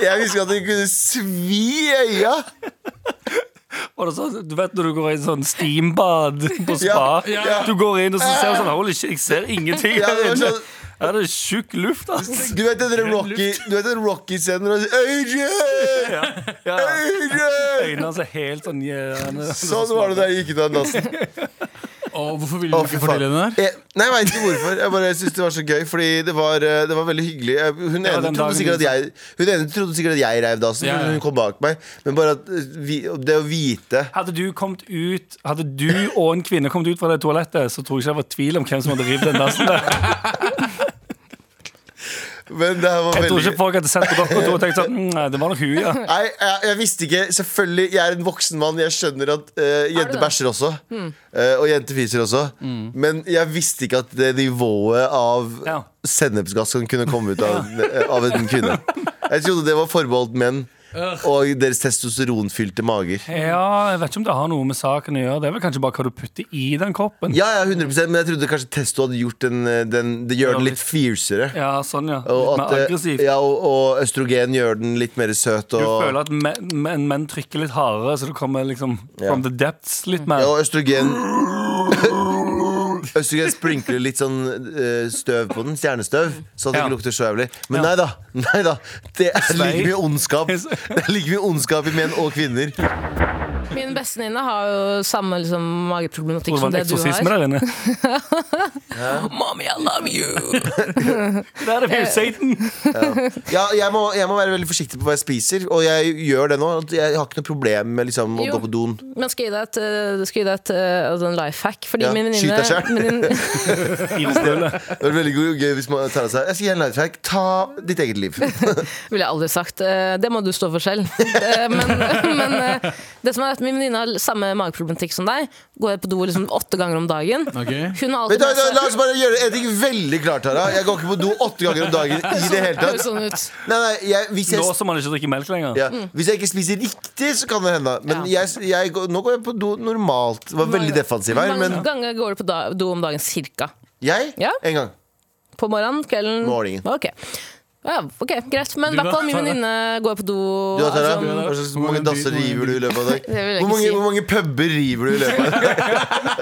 B: Jeg visste ikke at de kunne svi i øya.
C: Og det er sånn- du vet når du går i en sånn steambad på spa.
B: Ja, ja.
C: Du går inn og så ser du sånn Holy shit, jeg ser ingenting
B: Ja,
C: her
B: det var
C: inne.
B: sånn-
C: Ja, det er tjukk luft, ass.
B: Du vet den der Rocky- du vet den Rocky-scenen Rocky hvor han sier
C: Ja, ja.
B: Øyre!
C: Øynene hans er helt sånn gjerne.
B: Sånn var det da jeg gikk ut av den dassen.
D: Å, Hvorfor ville
B: Å,
D: du
B: fy
D: ikke
B: faen.
D: fortelle henne der?
B: Jeg, nei, jeg vet ikke hvorfor. Jeg bare synes det var så gøy, fordi det var, eh, det var veldig hyggelig. Jeg- Hun
C: var den
B: ene trodde
C: dagen
B: sikkert at
C: du-
B: jeg Hun ene trodde sikkert at jeg reiv dassen,
D: Ja, ja.
B: men hun kom bak meg. Men bare at eh, vi, det å vite
C: Hadde du kommet ut Hadde du og en kvinne kommet ut fra det toalettet, så tror jeg ikke det var tvil om hvem som hadde revet den dassen der.
B: Men det her var
C: Jeg tror
B: veldig
C: ikke folk hadde sett på dere og to og tenkt sånn mm, nei, Det var nok hun, ja.
B: Nei, jeg, jeg visste ikke. Selvfølgelig, jeg er en voksen mann. Jeg skjønner at eh, jenter
A: det?
B: bæsjer også. eh, og jenter fiser også. Men jeg visste ikke at det nivået av
C: Ja.
B: sennepsgass som kunne komme ut av, en- av en kvinne. Jeg trodde det var forbeholdt menn og deres testosteronfylte mager.
C: Ja, jeg vet ikke om det har noe med saken å gjøre. Det er vel kanskje bare hva du putter i den koppen.
B: Ja, ja, 100 men jeg trodde kanskje testo hadde gjort den, eh, den Det gjør den litt fiercere.
C: Ja, sånn, ja.
B: Og,
C: Litt
B: at,
C: mer
B: eh,
C: aggressivt.
B: ja, og, og østrogen gjør den litt mer søt.
C: Du
B: Og,
C: føler at menn, menn, menn trykker litt hardere, så du kommer liksom
B: Ja.
C: from the depths litt
B: ja,
C: mer.
B: og østrogen Østrogen sprinkler litt sånn eh, støv på den, stjernestøv, så at det
C: Ja.
B: ikke lukter så jævlig. Men nei
C: Ja.
B: da. nei da Det er like mye ondskap Det
C: Svei.
B: er like mye ondskap i menn og kvinner.
A: Min bestevenninne har jo samme liksom, mageproblematikk
C: Tror
A: som
C: det var en
A: det du
C: eksorsisme
A: har.
C: der inne.
A: Mommy, I love you!
C: Der er vi jo Satan!
B: Ja, jeg må, jeg må være veldig forsiktig på hva jeg spiser, og jeg gjør det nå. at Jeg har ikke noe problem med liksom, å
A: Jo.
B: gå på doen.
A: Men skal jeg gi deg et, eh, skal jeg gi deg et eh, altså en life hack. Fordi
B: Ja,
A: min
B: skyt deg
A: venninne
B: selv.
A: stemmen din
C: Irstøle.
B: Det er veldig god- gøy hvis man tar seg Jeg skal gi en lifehack. Ta ditt eget liv.
A: ville jeg aldri sagt. Eh, Det må du stå for selv. Eh, Men, men eh, det som er at min venninne har samme mageproblematikk som deg. Går på do liksom åtte ganger om dagen.
D: Ok.
A: Hun har
B: Vet
A: alltid
B: du, hva, la oss bare gjøre en ting veldig klart, Tara. Jeg går ikke på do åtte ganger om dagen i det hele
A: Høres
B: tatt.
A: sånn ut.
B: Nei, nei, jeg, hvis,
C: Nå
B: jeg,
C: som man ikke drikker melk lenger.
B: ja, hvis jeg ikke spiser riktig, så kan det hende. Men
A: Ja.
B: jeg, jeg, går- nå går jeg på do normalt. Det var veldig defensiv her,
A: Hvor
B: men
A: mange ganger går du på da- do om dagen cirka?
B: jeg
A: Ja.
B: en gang.
A: På morgenen? Kvelden?
B: Morgenen.
A: Ok. Ja, ok, Greit. Men i
D: Du
A: hvert
D: da,
A: fall min
D: Tara?
A: venninne går på do
B: Du da, Tara?
A: altså,
B: Hva slags- Hvor mange dasser river du i løpet av en dag?
A: vil jeg
B: Hvor
A: ikke
B: mange,
A: si.
B: hvor mange puber river du i løpet av en dag?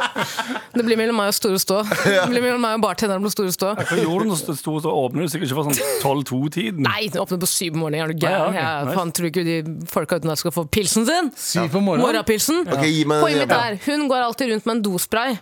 A: Det blir mellom meg og Store Stå. Det blir mellom meg og bartenderen på Store Stå.
C: Hva gjorde du når det sto og åpnet? Du sikkert ikke for sånn 12-2-tiden.
A: Nei, den åpner på syv om morgenen. Er du
C: Ja, ja,
A: gæren?
C: ok,
A: Jeg
C: nice.
A: faen tror ikke de folka utenlands skal få pilsen sin?
D: Syv på morgenen?
A: Morgenpilsen?
B: Ok, gi meg
A: Poenget
B: den.
A: mitt er, hun går alltid rundt med en dospray.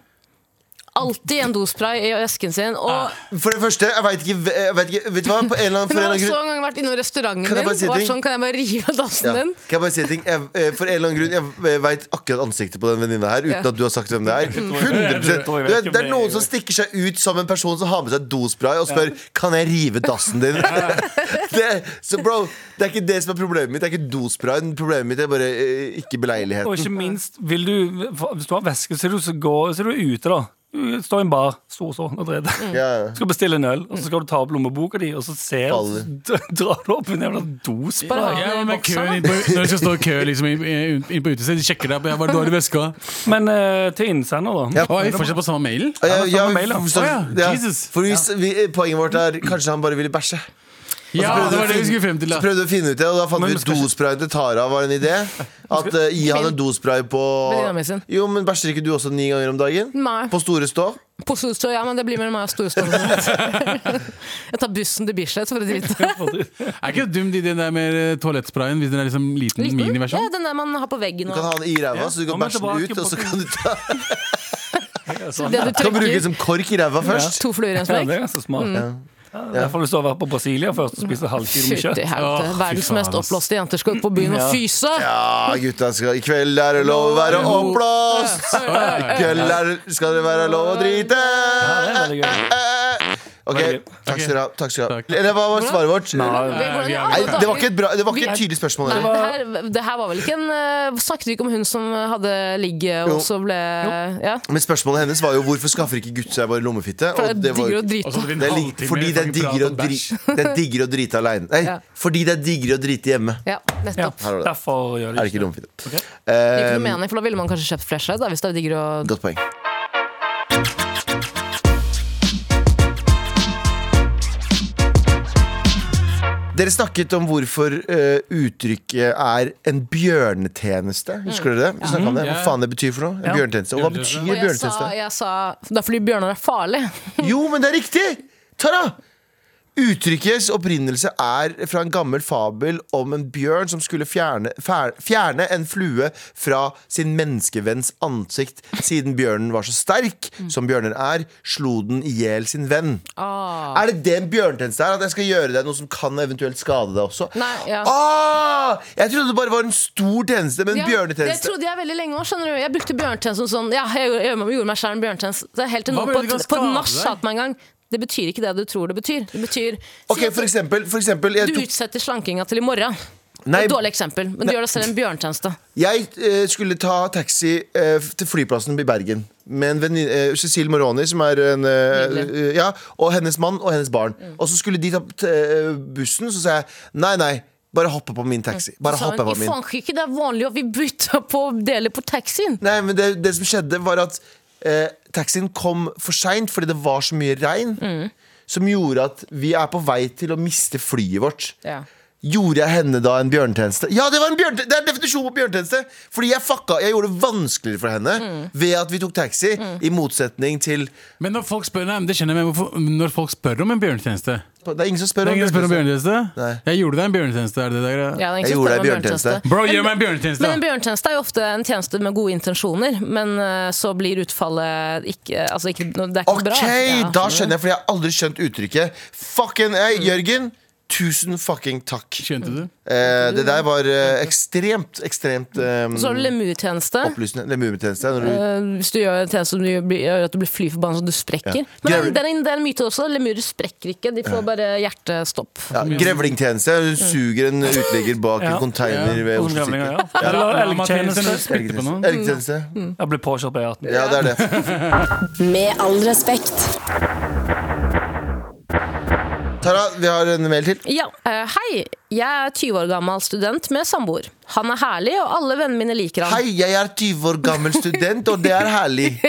A: Alltid en dospray i esken sin.
C: Ah.
A: Og
B: For det første, jeg veit ikke, jeg vet ikke Vet du hva? På en eller annen, for
A: hun har
B: en eller annen
A: også
B: grunn
A: en gang vært innom restauranten
B: Kan jeg
A: din
B: bare si
A: og vært
B: ting?
A: sånn, kan jeg bare rive av dassen
B: ja.
A: din?
B: Kan jeg bare si en ting? Jeg, eh, for en eller annen grunn, jeg veit akkurat ansiktet på den venninna her, uten
A: Ja.
B: at du har sagt hvem det er. 100%
C: tror jeg vet
B: Du vet,
C: ikke om
B: Det er
C: det-
B: noen som stikker seg ut som en person som har med seg dospray og spør Kan jeg rive dassen din. det, så bro, det er ikke det som er problemet mitt. Det er ikke dosprayen. Problemet mitt er bare eh,
C: Og
B: ikke beleiligheten.
C: ikke minst, vil du, hvis du har væske, så er du, så går, så er du ute, da. Du står i en bar, stor sånn og dreder.
B: Ja.
C: Skal bestille en øl, og så skal du ta opp lommeboka di, og så ser du,
B: Faller.
C: så d- drar du opp en jævla
A: Bare
C: dospray.
A: ha-
D: Ja, men med
A: Boksa,
D: køen inn på, når du skal stå i kø liksom, inn- inn inn på utestedet, de sjekker deg på ja, hva er det du har i veska.
C: Men eh, til innsender, da.
B: Ja.
D: Oi, fortsatt på samme mailen?
B: Ja,
C: det er samme mail, da.
B: vi- så-
D: Å ja,
B: ja.
D: Jesus.
B: For hvis vi, poenget vårt er kanskje han bare ville bæsje.
D: Ja,
B: prøvde
D: det
B: å
D: var det vi
B: finne-
D: skulle frem til.
B: Så
D: Da.
B: prøvde vi å finne ut det, og da fant
C: Men vi
B: vi ut
C: skal ikke-
B: dosprayen til Tara var en idé. At eh, gi han en dospray på
A: Venninna mi sin.
B: Jo, men bæsjer ikke du også ni ganger om dagen?
A: Nei.
B: På store stå?
A: På Store Stå, ja, men det blir mellom meg og Store Stå. jeg tar bussen til Bislett for å drite.
D: Er ikke det dumt i den der med eh, toalettsprayen, hvis den er liksom liten,
A: Liten? Ja,
D: miniversjon?
A: den der man har på veggen
B: Du
A: og
B: kan ha den i ræva,
C: Ja,
B: så du
C: nå
B: kan
C: må
B: bæsje
C: jeg
B: den ut,
C: tilbake
B: og så
C: på-
B: kan du
A: det
B: ta
A: du
B: Du sånn. kan bruke den
A: trekker.
B: som kork i ræva først.
A: To fluer i en
C: Ja, det
A: smekk.
C: er ganske smart. Mm. Ja. Mm. Derfor har du stå og vært på Brasilia først og spise halvkilo med kjøtt.
A: Fytti helvete.
D: Åh, fy
A: Verdens
D: faen,
A: mest
D: ass.
A: oppblåste jenter skal ut på byen og
C: Ja.
A: fyse!
B: Ja, Ah, gutta skal I kveld er det lov å være oppblåst! I kveld er det, skal det være lov å drite! Eh,
C: Ja, det er veldig gøy.
B: Ok,
C: Veldig.
B: takk skal dere ha. Takk skal dere
D: Takk.
B: ha. Eller hva var svaret vårt?
A: Det, går
B: Nei,
A: an i
D: Eh, vi er-
A: alle
B: det var
A: dager.
B: ikke et, bra, det var
A: Vi-
B: ikke et tydelig spørsmål.
A: Nei,
B: dere.
A: det her, det her var vel ikke en eh, Snakket vi ikke om hun som hadde ligg og
B: Jo.
A: så ble Ja?
B: Men spørsmålet hennes var jo hvorfor skaffer ikke gutt seg bare lommefitte?
A: For
B: Og
A: det
B: det
A: er
B: var-
A: digger å
D: Og
A: drite.
D: så hadde vi en
B: det er lig-
D: halvtime
B: fordi det er
D: fucking
B: digger
D: prat
B: å
D: om bæsj.
B: drite Det er digger å drite alene. Nei,
A: Ja.
B: fordi det er digger å drite hjemme.
A: Ja,
C: Ja,
A: nettopp.
B: Her var det.
C: derfor gjør
B: Er
C: de
B: det
C: ikke
B: ikke lommefitte?
A: Det gir ikke
B: Eh,
A: noe mening, for da ville man kanskje kjøpt flashlight. Da, hvis det er digger å
B: godt poeng. Dere snakket om hvorfor eh, uttrykket er en bjørnetjeneste. Husker dere det? Vi snakket om det. Hva
D: Ja.
B: faen det betyr for noe? En
C: Ja.
B: bjørnetjeneste. Og hva betyr
D: Bjørnetjeneste.
A: Og Mm. jeg sa,
B: bjørnetjeneste?
A: jeg sa Det er fordi bjørner er farlig.
B: Jo, men det er riktig! Tara! Uttrykkets opprinnelse er fra en gammel fabel om en bjørn som skulle fjerne, fer- fjerne en flue fra sin menneskevenns ansikt. Siden bjørnen var så sterk som bjørner er, slo den i hjel sin venn. Ah. Er det det en bjørntjeneste er? At jeg skal gjøre deg noe som kan eventuelt skade deg også?
A: Nei, ja.
B: Ah, jeg trodde det bare var en stor tjeneste, men en
A: Ja, det
B: bjørnetjeneste
A: trodde jeg veldig lenge òg. Jeg brukte bjørntjeneste som sånn Ja, jeg gjorde, jeg gjorde meg selv en bjørntjeneste. Helt til
D: Hva
A: noen
D: mener
A: på, et-
D: du kan
A: på et
D: skade
A: nach
D: deg?
A: sa til meg en gang Det betyr ikke det du tror det betyr. Det betyr
B: Ok,
A: si at
B: for eksempel, for eksempel jeg
A: Du
B: tok-
A: utsetter slankinga til i morgen.
B: Eh, Nei,
A: Et dårlig eksempel, men du gjør deg selv en bjørntjeneste.
B: Jeg eh, skulle ta taxi eh, til flyplassen i Bergen med en venninne, eh, Cecil Moroni, som er en eh,
A: Nydelig. Mm.
B: eh, Ja, og hennes mann og hennes barn. Og så skulle de ta t- eh, bussen, så sa jeg nei, nei, bare hoppe på min taxi. Bare
A: Mm. Sa hun,
B: hoppe på
A: I
B: min.
A: Frankrike det er vanlig at vi bytter på å dele på taxien.
B: Nei, men det, det som skjedde, var at eh, taxien kom for seint fordi det var så mye regn. Som gjorde at vi er på vei til å miste flyet vårt.
A: Ja.
B: Gjorde jeg henne da en bjørnetjeneste? Ja, det, var en bjørnte- det er definisjonen på bjørnetjeneste! Fordi jeg fucka, jeg gjorde det vanskeligere for henne ved at vi tok taxi, i motsetning til
D: Men når folk spør, nei, men det skjønner jeg, men hvorfor, når folk spør om en bjørnetjeneste Det
B: Det er ingen som spør
D: er
B: om
D: ingen som spør om
B: bjørnetjeneste.
D: bjørnetjeneste?
B: Nei.
D: Jeg gjorde deg en bjørnetjeneste, er det det der?
A: Ja, det er ikke så
B: Jeg gjorde
A: spennende med
B: deg bjørntjeneste.
D: Bro, gjør meg en bjørnetjeneste!
A: Men en bjørntjeneste er jo ofte en tjeneste med gode intensjoner, men eh, så blir utfallet ikke, altså ikke Det er ikke
B: Ok,
A: bra. Ja.
B: da skjønner jeg, fordi jeg har aldri skjønt uttrykket. Fucking hey, Jørgen, Tusen fucking takk.
D: Skjønte du?
B: Eh, det der var eh, ekstremt, ekstremt eh,
A: Så har du lemurtjeneste.
B: opplysende. Lemuretjeneste. Når du
A: Eh, hvis du gjør en tjeneste som du blir- gjør at du blir fly forbanna så du sprekker.
B: Ja.
A: Men
B: Gary-
A: det er, en, det er en myte også. Lemurer sprekker ikke. De får bare hjertestopp.
B: Ja, grevlingtjeneste. Hun
A: Mm.
B: suger en uteligger bak en
C: Ja.
B: container ved
C: Hos
B: Oslo
C: gamlinger,
B: City.
C: ja. Eller
D: Elgtjeneste.
C: elgtjeneste.
D: Spytte på noen.
B: Elgtjeneste.
A: Mm.
C: Jeg blir påkjørt på E18.
B: Ja, det er det.
F: Med all respekt.
B: Tara, vi har en mail til.
A: Ja, eh, Hei, jeg er 20 år gammel student med samboer. Han er herlig, og alle vennene mine liker han.
B: Hei, jeg er 20 år gammel student, og det er herlig.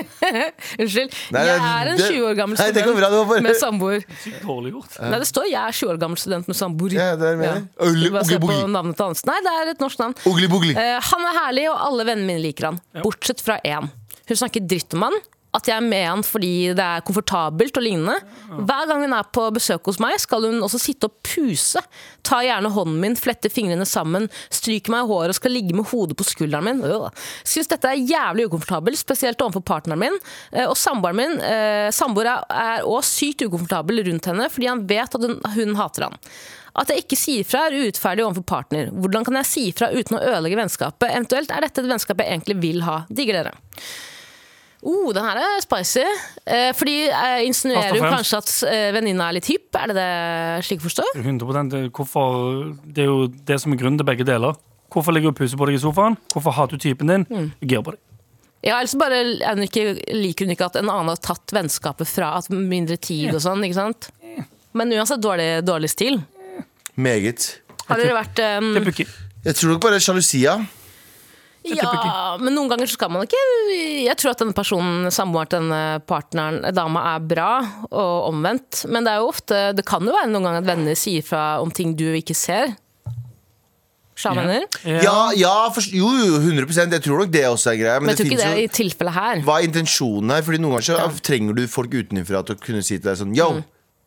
A: Unnskyld.
B: Nei,
A: jeg
B: nei,
A: er en
B: det-
A: 20 år gammel
B: Nei, det går
A: student
B: bra, det var bare-
A: med samboer.
C: Dårlig gjort.
A: Nei, det står 'jeg er 20 år gammel student med samboer'.
B: Ja, det er det jeg mener. Ugle-
A: Du bare ser på
B: uglebugli.
A: navnet til hans. Nei, det er et norsk navn.
B: Ogli bogli.
A: Eh, han er herlig, og alle vennene mine liker han. Bortsett fra én. Hun snakker dritt om han. At jeg er med han fordi det er komfortabelt og lignende. Hver gang hun er på besøk hos meg, skal hun også sitte og puse. Ta gjerne hånden min, flette fingrene sammen, stryker meg i håret og skal ligge med hodet på skulderen min. Øh. Syns dette er jævlig ukomfortabelt, spesielt overfor partneren min. Eh, Og samboeren min eh, Samboer er- er òg sykt ukomfortabel rundt henne fordi han vet at hun, hun hater han. At jeg ikke sier fra er urettferdig overfor partner. Hvordan kan jeg si fra uten å ødelegge vennskapet? Eventuelt er dette det vennskapet jeg egentlig vil ha. Digger dere. Oh, den her er spicy. Eh, fordi jeg insinuerer
C: Først og
A: jo
C: fremst.
A: kanskje at eh, venninna er litt hypp. Er det det slik jeg forstår?
C: 100 det- Hvorfor, Det er jo det som er grunnen til begge deler. Hvorfor ligger du og puser på deg i sofaen? Hvorfor hater du typen din? Jeg girer på deg.
A: Ja, ellers bare er hun ikke, liker hun ikke at en annen har tatt vennskapet fra at mindre tid og sånn. ikke sant? Men uansett dårlig, dårlig stil.
B: Meget.
A: Har dere vært eh,
C: Det er ikke-
B: Jeg tror nok bare sjalusia.
C: tipper
A: Ja, men noen ganger så skal man ikke Jeg tror at denne personen, samboeren til denne partneren, dama, er bra, og omvendt. Men det er jo ofte Det kan jo være noen ganger at venner sier fra om ting du ikke ser. Sjamener.
B: Ja, ja for, jo, jo, 100 Jeg tror nok det også er greia. Men,
A: Men jeg
B: det
A: tror ikke det
B: finnes
A: er
B: jo
A: i tilfellet her.
B: Hva er intensjonen her? Fordi Noen ganger så trenger du folk utenfra til å kunne si til deg sånn Yo,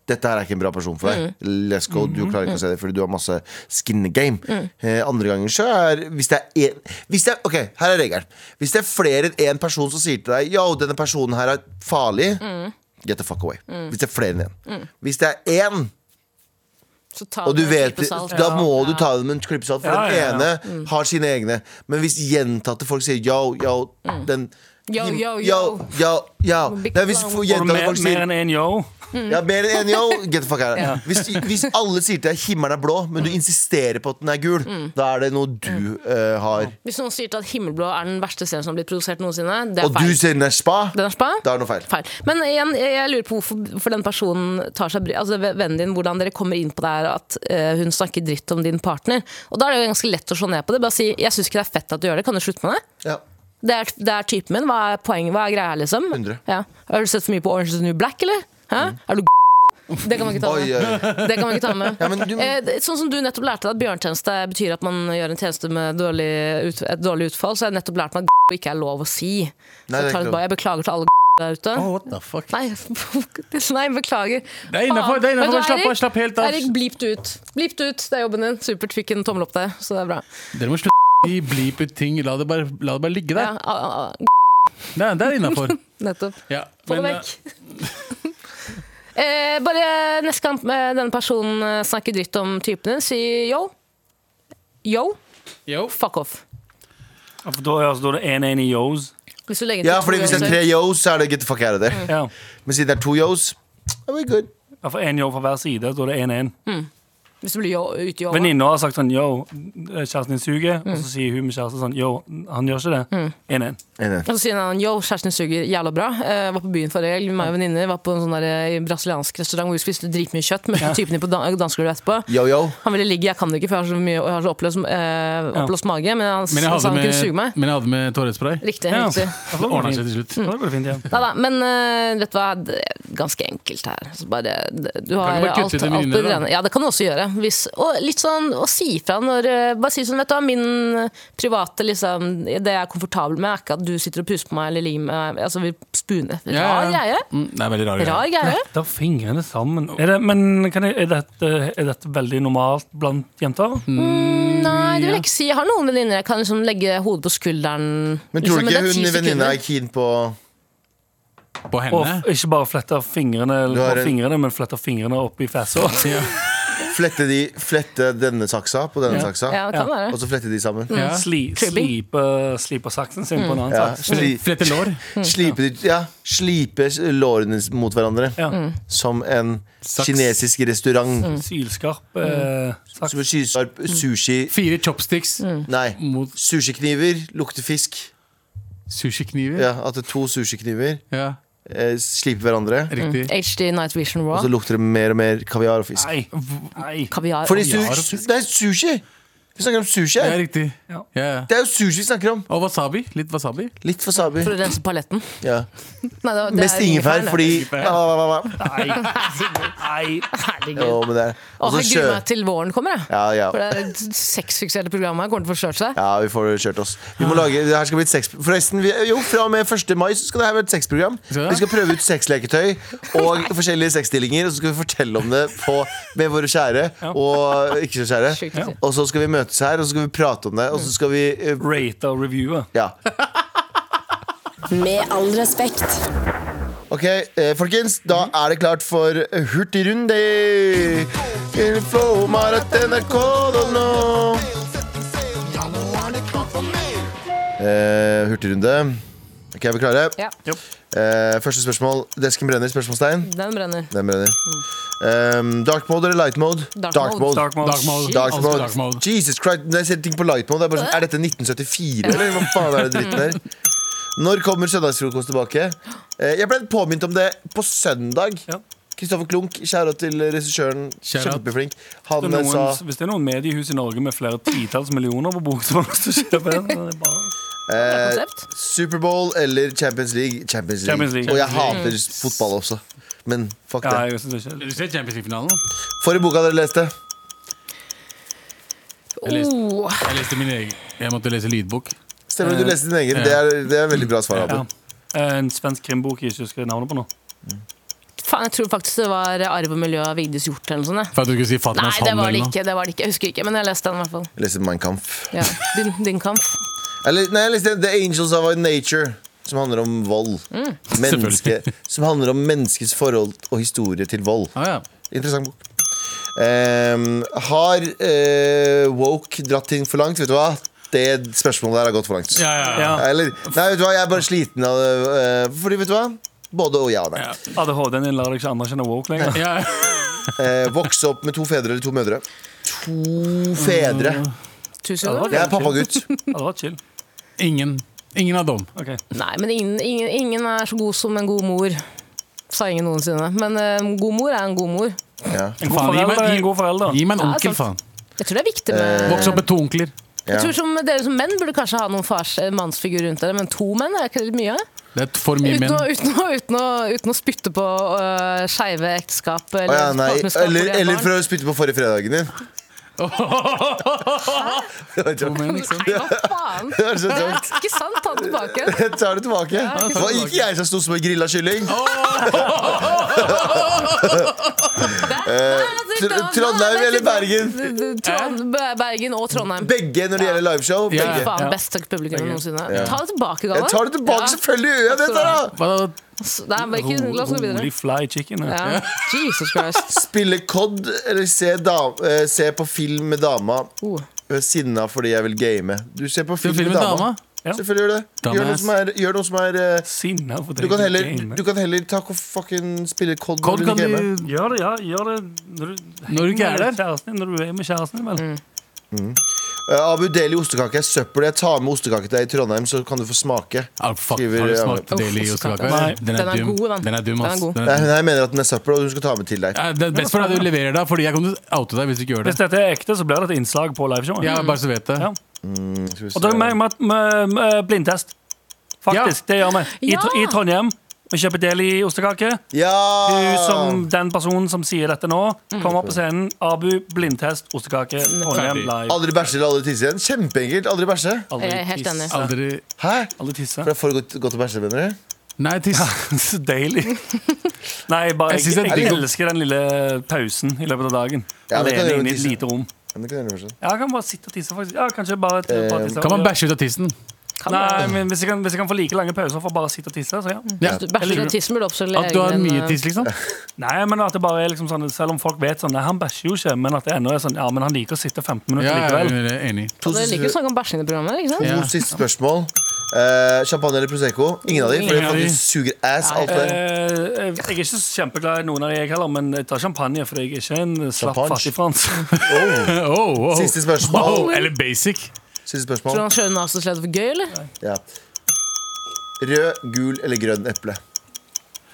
B: dette her er ikke en bra person for deg. Let's go. Du klarer ikke å se det fordi du har masse skin in the game. Eh, andre ganger så er Hvis det er én hvis det er, Ok, her er regelen. Hvis det er flere enn én person som sier til deg Yo, denne personen her er farlig, get the fuck away. Hvis det er flere enn én. Hvis det er én
A: Så ta
B: og du
A: det med en
B: vet,
A: klype salt. Mm.
B: Da må du ta det med en klype salt, for
C: Ja,
B: den
C: ja, ja.
B: ene har sine egne. Men hvis gjentatte folk sier yo, yo, den
A: Mm. Yo,
B: Jim-
A: yo,
B: yo, yo, yo.
A: Big
B: Nei, hvis
A: clown.
B: for-
C: Og
B: gjentatte
C: mer,
B: folk
C: mer
B: sier
C: enn én yo.
A: Mm.
B: ja, mer enn en yo, get the fuck out. Hvis, hvis alle sier til deg himmelen er blå,
A: Mm.
B: men du insisterer på at den er gul, da er det noe du eh, har.
A: Hvis noen sier til at himmelblå er den verste serien som har blitt produsert noensinne, det er
B: Og du
A: feil.
B: sier den er spa,
A: Den er spa?
B: da er det noe feil.
A: feil. Men igjen, jeg jeg lurer på hvorfor, hvorfor den personen tar seg bry Altså vennen din, hvordan dere kommer inn på det her at eh, hun snakker dritt om din partner. Og da er det jo ganske lett å slå ned på det. Bare si 'jeg syns ikke det er fett at du gjør det, kan du slutte med det'?
B: Ja.
A: Det er, det er typen min, hva er poenget, hva er greia her, liksom?
B: 100.
A: Ja. Har du sett for mye på Orange is the New Black, eller? Hæ? Er du g***? Det kan man ikke ta
B: Mm. Oi,
A: med.
B: oi, oi.
A: Det kan man ikke ta med.
B: Ja, men du-
A: eh, det- sånn som du nettopp lærte deg at bjørntjeneste betyr at man gjør en tjeneste med dårlig ut, et dårlig utfall, så har jeg nettopp lært meg at g- ikke er lov å si.
B: Nei,
A: så
B: det er
A: jeg, tar
B: ikke
A: et
B: lov.
A: bare, jeg beklager til alle g- der ute.
D: Oh, what the fuck?
A: Nei, nei, beklager.
D: Det er innenfor, det er innenfor.
A: Vet du hva,
D: Slapp av,
A: Erik?
D: slapp helt av.
A: Erik, blip det ut. Blip det ut, det er jobben din. Supert, fikk en tommel opp der, så det er bra.
D: Dere må slutte å bleep ut ting. La det bare, la det bare ligge
A: Ja,
D: der.
A: a- a-
D: Det er, det er innafor.
A: nettopp.
D: Ja,
A: Få det
D: men,
A: vekk. Eh, bare neste gang eh, denne personen eh, snakker dritt om typen din, si yo. Yo,
D: eh, Yo.
A: fuck off.
C: Ja, For da, ja, så da er det én én i yos.
A: Hvis du legger til
B: ja,
A: to
B: fordi hvis det er
A: ganger,
B: tre yos, så er det get the fuck out of
A: Mm.
B: there.
C: Ja.
B: Men siden det er to yos, da er vi good.
C: Ja, for én yo fra hver side. Da er det én én.
A: så- Hvis du blir yo, ute yo.
C: Venninna har sagt sånn yo, kjæresten din suger. Og så sier hun med kjæresten sånn yo, han gjør ikke det. Én én.
B: Enig.
A: Og så sier han yo, kjæresten din suger jævla bra. Eh, var på byen forrige helg, meg og venninner var på en sånn der, eh, brasiliansk restaurant hvor vi spiste dritmye kjøtt med typen din på dan dansegulvet etterpå.
B: Yo, yo.
A: Han ville ligge, jeg kan det ikke, for jeg har så, mye, jeg har så oppløst, eh, oppløst mage. Men han,
D: men jeg
A: han sa
D: hadde
A: han kunne suge
D: med,
A: meg.
D: men jeg hadde med toalettspray.
A: Riktig.
C: Ja.
A: riktig.
C: Ja, for
D: Det
C: da går
D: ordna
C: det
D: seg
C: fint.
D: til slutt.
C: Ja, Da går det fint igjen.
A: Nei da, men eh, vet du hva, det er ganske enkelt her. Så bare, du har
D: Kan du bare kutte
A: alt,
D: ut det
A: alt på det
D: mindre, da?
A: rene. Ja, det kan du også gjøre. Hvis, og litt sånn å si fra når eh, Bare si sånn, vet du hva, min private liksom, Det jeg er komfortabel med, er ikke at du sitter og puser på meg eller limer meg. Altså, vi spune. Rar greie.
D: Mm, det er veldig rar greie.
A: Rar greie.
C: Da er fingrene sammen. Er det, men kan jeg, er, dette, er dette veldig normalt blant jenter?
A: Nei, det vil jeg ikke si. Jeg har noen venninner jeg kan liksom legge hodet på skulderen.
B: Men tror du
A: liksom,
B: ikke
A: det er ti
B: hun venninna
A: sekunder.
B: er keen på
D: På
C: Og
D: henne.
C: f- ikke bare flette fingrene,
B: Du har
C: på
B: en-
C: fingrene men flette fingrene opp i fæsa.
D: Ja.
B: flette, de, flette denne saksa på denne saksa,
A: Ja, Mm. det kan være.
B: og så flette de sammen.
D: Ja.
C: Sli,
A: Cribbing.
C: slipe, slipe saksen sin på en annen
B: Ja,
C: saks.
A: Mm.
B: sli,
D: Flette lår.
B: slipe, de- ja, slipe lårene mot hverandre.
C: Ja.
A: Mm.
B: Som en
D: Saks.
B: kinesisk restaurant.
C: Sylskarp
D: Mm.
C: eh, saks.
B: Som en sysarp
A: Mm.
B: sushi
D: Fire chopsticks.
B: Nei,
D: Mot-
B: sushikniver lukter fisk.
A: Mm.
D: Sushikniver. Ja.
B: Ja, at det er to sushikniver eh, sliper hverandre.
D: Riktig.
A: HD Night Vision
B: Og så
A: Raw.
B: lukter det mer og mer kaviar og fisk.
C: Nei. Nei.
A: Kaviar.
B: Fordi
A: og-
B: su su det er sushi! Vi snakker om sushi
D: Ja,
B: her.
D: riktig.
C: Ja.
D: Ja, ja.
B: Det er jo sushi vi snakker om.
D: Og wasabi. Litt wasabi.
B: Litt wasabi.
A: For å rense paletten.
B: Ja.
A: Nei, det var- det
B: Mest
A: er
B: ingefær,
A: det.
B: fordi Ja, ja, ja, ja.
C: Nei. Nei.
A: Herregud.
B: Jo, men det er-
A: Åh,
B: Og så
A: jeg gruer meg
B: kjø...
A: til våren kommer, jeg.
B: Ja, ja.
A: For det er sexfikserte programmet her kommer til å forstørre seg.
B: Ja, vi får kjørt oss. Vi må lage, det her skal bli et sex... Forresten, vi, jo, fra og med 1. mai så skal det her være et sexprogram.
D: Skal det?
B: Vi skal prøve ut sexleketøy og forskjellige sexstillinger, og så skal vi fortelle om det på, med våre kjære og ikke så kjære.
A: Sjukt å si.
B: Og så skal vi møtes her, og så skal vi prate om det, og så skal vi eh,
C: Rate og reviewe.
B: Ja.
F: Med all respekt.
B: Ok, eh, folkens, da
A: Mhm.
B: er det klart for Hurtigrunde. Info.nrk.no. Eh, hurtigrunde. Ok, er vi klare?
A: Ja,
B: Eh, første spørsmål. Desken brenner? Spørsmålstegn.
A: den brenner.
B: Den brenner. Um, dark mode eller light mode?
A: Mm. Dark mode.
C: Dark mode.
D: Dark mode.
B: Dark
D: Alltid
B: mode.
D: dark mode.
B: Jesus Christ, når jeg ser ting på light mode, det er, bare sånn, er dette 1974, eller hva faen er det dritten her? Når kommer søndagsfrokost tilbake? Eh, Jeg ble påminnet om det på søndag.
C: Ja.
B: Kristoffer Klunk, kjære til regissøren.
D: Shout out.
B: Kjempeflink.
C: Hvis
B: Han
C: det er
B: eh, sa
C: noen, hvis det er noen mediehus i Norge med flere titalls millioner på bok, så må du kjøpe den. Det er bare-
B: eh,
A: Konsept.
B: Superbowl eller Champions League. Champions League.
C: Champions League.
B: Og jeg hater fotball også. Men fuck
C: Ja,
B: det.
C: jeg synes det er
D: Du ser Champions League-finalen?
B: Forrige boka dere leste.
D: Jeg leste,
A: Oh,
D: jeg leste min egen. Jeg måtte lese lydbok.
B: Stemmer det, du leste din egen. Det er, det er veldig bra svar.
C: Eh, ja. Eh,
B: Abu.
C: En svensk krimbok jeg ikke husker navnet på nå.
A: faen, jeg tror faktisk det var Arv og miljø av Vigdis Hjorth eller noe sånt. jeg.
D: For at du ikke sier
A: Nei,
D: Fatmas
A: det
D: Hamn
A: var det
D: eller noe.
A: ikke. det var det ikke Jeg husker ikke, men jeg leste den i hvert fall.
B: Jeg leste Mein Kampf.
A: Ja. Din, din kamp.
B: Eller, nei, jeg leste The Angels of Our Nature, som handler om vold. Menneske, som handler om menneskets forhold og historie til vold.
D: Ah, ja.
B: Interessant bok. Ehm, har eh, woke dratt ting for langt? Vet du hva? Det spørsmålet der har gått for langt.
D: Ja, ja, ja.
C: Ja.
B: Eller, nei, vet du hva? Jeg er bare sliten av det. eh, fordi, vet du hva? Både og ja og nei.
D: Ja.
C: ADHD-en din lar deg ikke anerkjenne woke lenger.
D: Ja.
B: Eh, vokse opp med to fedre eller to mødre? To fedre.
A: Tusen
C: Ja, det var
A: år.
B: Jeg er pappagutt.
C: Ja, det var chill.
D: Ingen. Ingen av dem.
C: Ok.
A: Nei, men ingen, ingen, ingen er så god som en god mor, sa ingen noensinne. Men eh, en god mor er en god mor.
B: Ja.
C: En god
D: Faen, gi meg-
C: forelder.
D: gi-
C: En god forelder.
D: Gi meg en
A: Ja,
D: onkel, faen.
A: sant. Jeg tror det er viktig
B: Eh,
A: med
D: Vokse opp med to onkler.
B: Ja.
A: Jeg tror som Dere som menn burde kanskje ha noen fars eh, mannsfigur rundt dere, men to menn er ikke litt mye?
D: Det er for mye
A: Uten
D: menn.
A: å, uten, å, uten, å, uten å spytte på uh, skeive ekteskap eller
B: Å ja, nei.
A: partnerskap hvor
B: Eller,
A: de har
B: eller
A: barn.
B: for å spytte på forrige fredagen din.
D: To menn, ikke sant?
A: Nei, Hva faen?
B: Det var så
A: Det
B: dumt.
A: er ikke sant, ta den tilbake.
B: Jeg tar det tilbake. Det var ikke jeg som sto som en grilla kylling. Tr- Trondheim eller Bergen?
A: Trond, Bergen og Trondheim.
B: Begge når det gjelder liveshow.
D: Ja.
B: Begge.
A: Faen, best publikum noensinne. Ta det tilbake, Galvan.
B: Jeg tar det tilbake, selvfølgelig gjør jeg det! da
D: Hva da?
A: Nei, men ikke, la oss gå videre.
C: Rolig fly chicken. ja.
A: Ja. Jesus Christ.
B: Spille COD eller se, dam, eh, se på film med dama.
A: Oh.
B: Jeg er sinna fordi jeg vil game. Du ser på
D: Se
B: film med
D: filmen Dama.
B: dama. Selvfølgelig gjør det. Gjør noe som er, gjør noe som er eh,
C: Sinna for det.
B: du kan, heller,
C: game.
B: du kan heller takk og fucking spille COD når
D: Kod
B: du
D: kan
B: vil game.
D: du
C: Gjør det, ja. Gjør det når du,
D: Når du ikke er
C: henger med
D: der.
C: Kjæresten, din, når du er med kjæresten din, vel.
A: Mm.
B: Eh, Abu Deli ostekake er søppel. Jeg tar med ostekake til deg i Trondheim, så kan du få smake.
D: Ah, fuck,
B: Skriver-
D: Har du smakt
A: Uff,
D: Deli i
A: ostekake.
D: ostekake?
C: Nei.
D: Den
A: Den er
D: dum.
A: god, den.
D: Den er dum,
A: Den
D: ass.
A: er god.
D: Den
B: Nei,
D: er dum.
B: hun her mener at den er søppel, og hun skal ta med til deg.
D: Ja, Det er best for deg at du leverer deg, Fordi jeg kommer til å oute deg hvis du ikke gjør
C: Hvis
D: det.
C: dette er ekte, så blir det et innslag på liveshowet.
D: Ja, bare så vet det.
C: Ja.
B: Skal vi
C: Og da er
B: se.
C: det meg med, med, med eh, blindtest. Faktisk, det gjør vi. I,
A: Ja.
C: Tr- I Trondheim. Vi kjøper del i ostekake.
B: Ja!
C: Du
D: Ah.
C: som den personen som sier dette nå,
A: Mm.
C: kommer opp på scenen. Abu, blindtest, ostekake, Trondheim
D: Ferdig.
C: live.
B: Aldri bæsje eller aldri tisse igjen. Kjempeenkelt. Aldri bæsje.
C: Aldri
A: Jeg er helt enig.
C: tisse.
D: Aldri
B: Hæ?
C: Aldri tisse.
B: For det er for godt, godt å bæsje, mener du?
D: Nei, tiss.
C: Så deilig. Nei, bare,
D: Jeg synes det
C: jeg,
D: er
C: jeg,
D: digg å-
C: elsker den lille pausen i løpet av dagen.
B: Ja, men kan
C: Alene
B: du
C: inne i et
B: tisse?
C: lite rom.
B: Men det kan jeg gjøre fortsatt. Eh,
C: Ja, jeg kan bare sitte og tisse, faktisk. Ja, kanskje bare, bare tisse.
D: Kan man bæsje ut av tissen?
A: Kan
C: Nei,
A: være.
C: men hvis jeg, kan, hvis jeg kan få like lange pauser for å bare å sitte og tisse, så ja.
D: Ja.
A: Hvis du bæsjer og tisser, blir du absolutt
D: At du har
A: egen,
D: mye
A: eh,
D: tiss, Mm. liksom?
C: Nei, men at det bare er liksom sånn Selv om folk vet sånn Nei, han bæsjer jo ikke, men at det ennå er sånn Ja, men han liker å sitte 15 minutter
D: Ja, jeg
C: likevel.
D: er enig.
B: To
A: Altså, Dere liker sånn. å
B: siste,
A: snakke om bæsjing i programmet, ikke sant?
D: Ja.
B: to siste spørsmål. Eh, champagne eller Prosecco? Ingen av de, for det
D: Ingen av de.
B: fucking suger ass. Alt
C: Eh,
B: det.
C: jeg er ikke så kjempeglad i noen av de jeg heller, men jeg tar champagne, for jeg er ikke en slapp
B: Champagne.
C: fattig frans.
D: Oh, oh.
B: Siste spørsmål.
D: Oh, eller basic.
B: Siste
A: Tror du
B: spørsmål.
A: han kjører nazislede for gøy, eller?
B: Ja. Rød, gul eller grønn eple?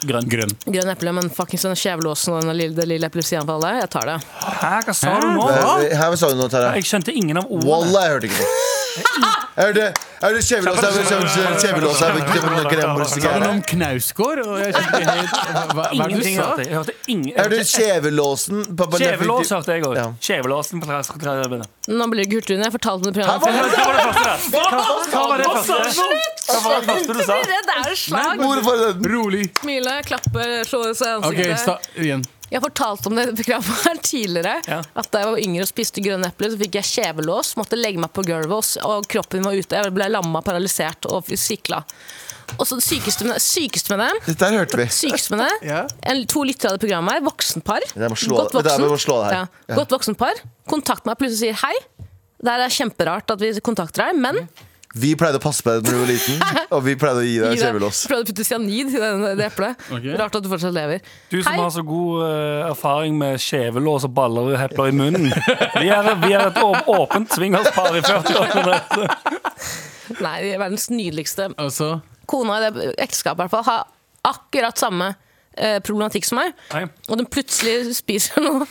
C: Grønn.
D: Grønn.
A: Grønn eple, men fuckings den kjevelåsen og den lille, det lille epilepsianfallet. Jeg tar det.
C: Hæ, hva sa du nå?
B: Eh, Her sa du noe, Tara.
C: Jeg skjønte ingen av ordene.
B: Wallah, jeg hørte ikke det. Jeg hørte, jeg hørte kjevelås her, kjevelås her, kjevelås her, hvilke noen gremmelser
D: Sa du
B: greier
D: noe
B: her.
D: om knausgård? Og jeg skjønte ikke helt hva, hva er det du
C: Ingenting
D: sa?
C: hørte jeg. Jeg hørte ingen.
B: Jeg hørte
C: jeg hørte-
B: kjevelåsen på- på-
C: Kjevelås hørte jeg òg.
B: Ja.
C: Kjevelåsen på trærne.
A: Nå blir det ikke Hurtigruten. Jeg fortalte om det i programmet.
C: Hva var det første? Hva var det første? Hva var det første du sa?
A: Det er et slag!
B: Hvorfor den?
D: Rolig.
A: Smile, klappe, slå seg i
D: OK,
A: ansiktet.
D: sta igjen.
A: Jeg fortalte om det i programmet her tidligere.
C: Ja.
A: At Da jeg var yngre og spiste grønne epler, så fikk jeg kjevelås. Måtte legge meg på gulvet, og s- og kroppen var ute. Jeg ble lamma, paralysert og f- sikla. Og så det sykeste med, sykeste med det
B: Dette her hørte vi.
A: Sykeste med det
D: Ja.
A: en, To lyttere av det programmet her, voksenpar.
B: Jeg må slå- det der må slå det her. Ja.
A: Ja. Godt voksenpar. Kontakt meg plutselig sier hei. Det her er kjemperart at vi kontakter deg, men
B: Vi pleide å passe på deg da du var liten, og vi pleide å gi deg
A: gi deg-
B: kjevelås.
A: prøvde å putte cyanid i den- det eplet.
D: Ok.
A: Rart at du fortsatt lever.
C: Du som
A: Hei.
C: har så god eh, erfaring med kjevelås og baller og hepler i munnen. Vi er, vi er et å- åpent swingerspar i 40-årene.
A: Nei, verdens nydeligste.
D: Altså
A: kona i det ekteskapet i hvert fall har akkurat samme eh, problematikk som meg.
C: Nei.
A: Og den plutselig spiser noe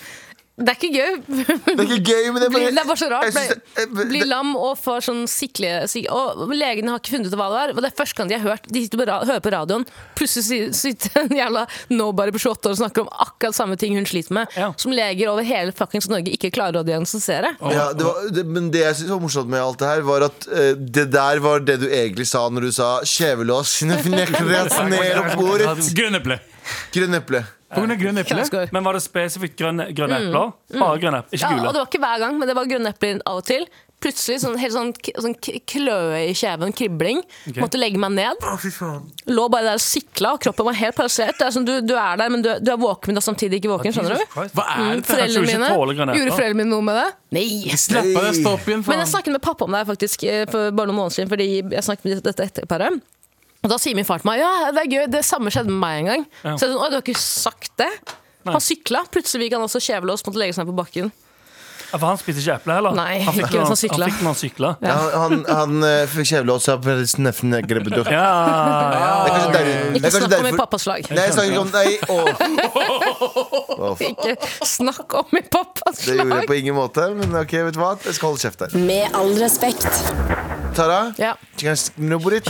A: Det er ikke gøy.
B: Det er ikke gøy, men det er
A: Blir, det er bare så
B: Eh, jeg
A: rart.
B: synes det-
A: Blir, blir lam og får sånn sikle sik Og legene har ikke funnet ut hva det var. Og det er første gang de har hørt De sitter på ra hører på radioen, plutselig si- sitter en jævla nobody på 28 år og snakker om akkurat samme ting hun sliter med,
C: Ja.
A: som leger over hele fuckings Norge ikke klarer å diagnostisere.
B: Ja, det var, det, men det jeg synes var morsomt med alt det her, var at eh, det der var det du egentlig sa når du sa kjevelås. Knekret ned opp bordet.
D: Grønn eple.
B: Grønn eple.
D: På grunn av grønn eple?
A: Knausgård.
C: Men var det spesifikt grønne, grønne epler? Bare grønne,
A: Mm.
C: ikke
A: Ja, og det
C: gule.
A: var ikke hver gang, men det var grønne epler av og til. Plutselig sånn, helt sånn, k- sånn k- kløe i kjeven, kribling. Måtte legge meg ned. Lå bare der og sikla, og kroppen var helt paralysert. Det er sånn, du, du er der, men du, du er våken, men du er samtidig ikke våken. Skjønner du?
D: Hva er
A: Mm, foreldrene
D: det?
C: Kanskje du ikke
A: mine,
C: tåler grønne
A: gjorde
C: epler?
A: foreldrene mine noe med det? Nei!
D: Slapp av deg, stå opp
A: Men
D: igjen.
A: altså- jeg
D: faen.
A: snakket med pappa om det her faktisk eh, for bare noen måneder siden, fordi jeg snakket med dette ekteparet. Og da sier min far til meg ja, det er gøy, det samme skjedde med meg en gang.
C: Ja.
A: Så jeg sånn, Å, du har ikke sagt det? Han sykla. Plutselig fikk han også kjevelås, måtte legge seg på
B: Mm.
A: bakken.
C: Ja, For han spiste ikke eple heller?
A: Nei,
C: han fikk
A: ikke
C: den
A: mens han
C: han,
A: syklet.
C: fikk den han sykla.
B: Ja, han han eh, fikk kjevelås. så jeg knekret ned-
C: Ja, ja.
B: Det er kanskje der- det
A: Ikke
B: er kanskje
A: snakk om i
B: derfor
A: pappas lag.
B: Nei, jeg snakker ikke om Nei, å,
A: Ikke snakk om i pappas
B: det gjorde jeg
A: slag!
B: på ingen måte. Men ok, vet du hva? Jeg skal holde kjeft der.
F: Med all respekt.
B: Tara,
A: Ja.
B: chicken snobberit.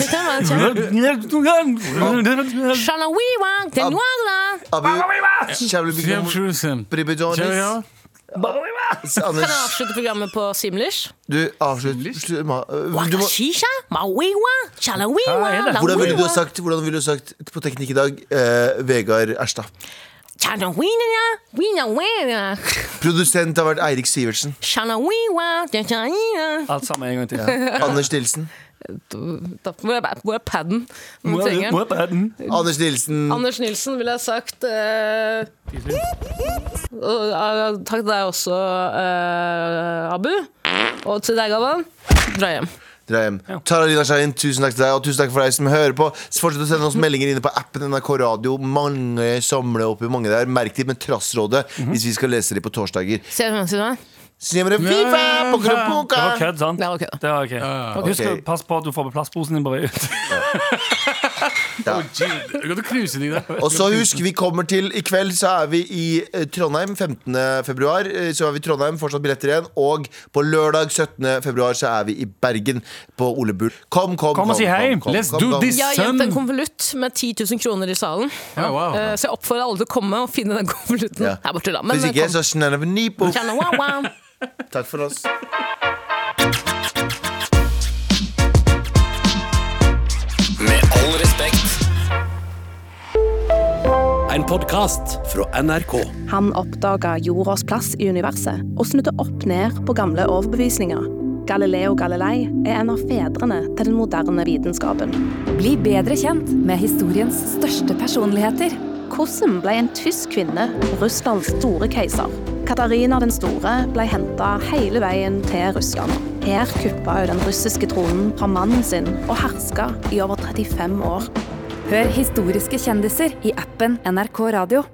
A: Shana we want ten wala.
B: Abu, kjævlig
D: Fem,
B: bygge-
D: sju, fem. Kjør,
B: bribidonis.
D: ja.
A: Kan jeg
B: Anders,
A: avslutte programmet på simlish?
B: du avslutt. Slu- ma- Du må,
A: Wakashisha, mawiwa,
C: Hva er
A: shalawiwa,
C: det?
B: hvordan ville du ha sagt, hvordan ville du ha sagt på Teknikk i dag? Eh, Vegard Erstad.
A: Chanawinanya, winawena,
B: Produsent har vært Eirik Sivertsen.
A: shanawiwa, jajaina.
C: Alt sammen en gang til.
B: Anders Nilsen.
A: Hvor er, hvor er padden? Hvor
C: Må
A: trenger
C: jeg- må
A: den?
C: jeg bare den?
B: Anders Nilsen.
A: Anders Nilsen ville jeg sagt eh, og, eh, Takk til deg også, eh, Abu. Og til deg, Galvan. Dra hjem.
B: Dra hjem. Tara Lina Schein, tusen takk til deg, og tusen takk for deg som hører på. Fortsett å sende oss meldinger inne på appen NRK Radio. Mange samler opp i mange der. Merk de med Trassrådet hvis vi skal lese de på torsdager.
A: Ser du hvem som er?
B: Sier dere FIFA, poker, poker.
C: Det var kødd, sant?
A: Det var kødd.
C: Det var ok. Husk å
B: Ok.
C: passe på at du får med plastposen din på vei ut.
D: Du kan knuse den i deg.
B: Og så husk, vi kommer til I kveld så er vi i eh, Trondheim 15. februar. eh, Så er vi i Trondheim, fortsatt billetter igjen. Og på lørdag 17. februar så er vi i Bergen, på Ole Bull. Kom, kom,
C: Kom og si hei.
D: Let's do this.
A: Jeg har gjemt en
D: Sønn.
A: konvolutt med 10 000 kroner i salen.
D: Ja, wow.
A: Eh, Så jeg oppfordrer alle til å komme og finne den konvolutten
B: Ja.
A: her borte. da Men
B: Hvis
A: eh,
B: ikke,
A: kom.
B: så snarere vi ny på.
A: Tjena, wow, wow.
B: Takk for oss.
E: Med all respekt.
G: En podkast fra NRK.
H: Han oppdaga jordas plass i universet og snudde opp ned på gamle overbevisninger. Galileo Galilei er en av fedrene til den moderne vitenskapen.
I: Bli bedre kjent med historiens største personligheter
H: Hvordan ble en tysk kvinne Russlands store keiser? Katarina den store ble henta hele veien til Russland. Her kuppa hun den russiske tronen fra mannen sin og herska i over 35 år.
I: Hør historiske kjendiser i appen NRK Radio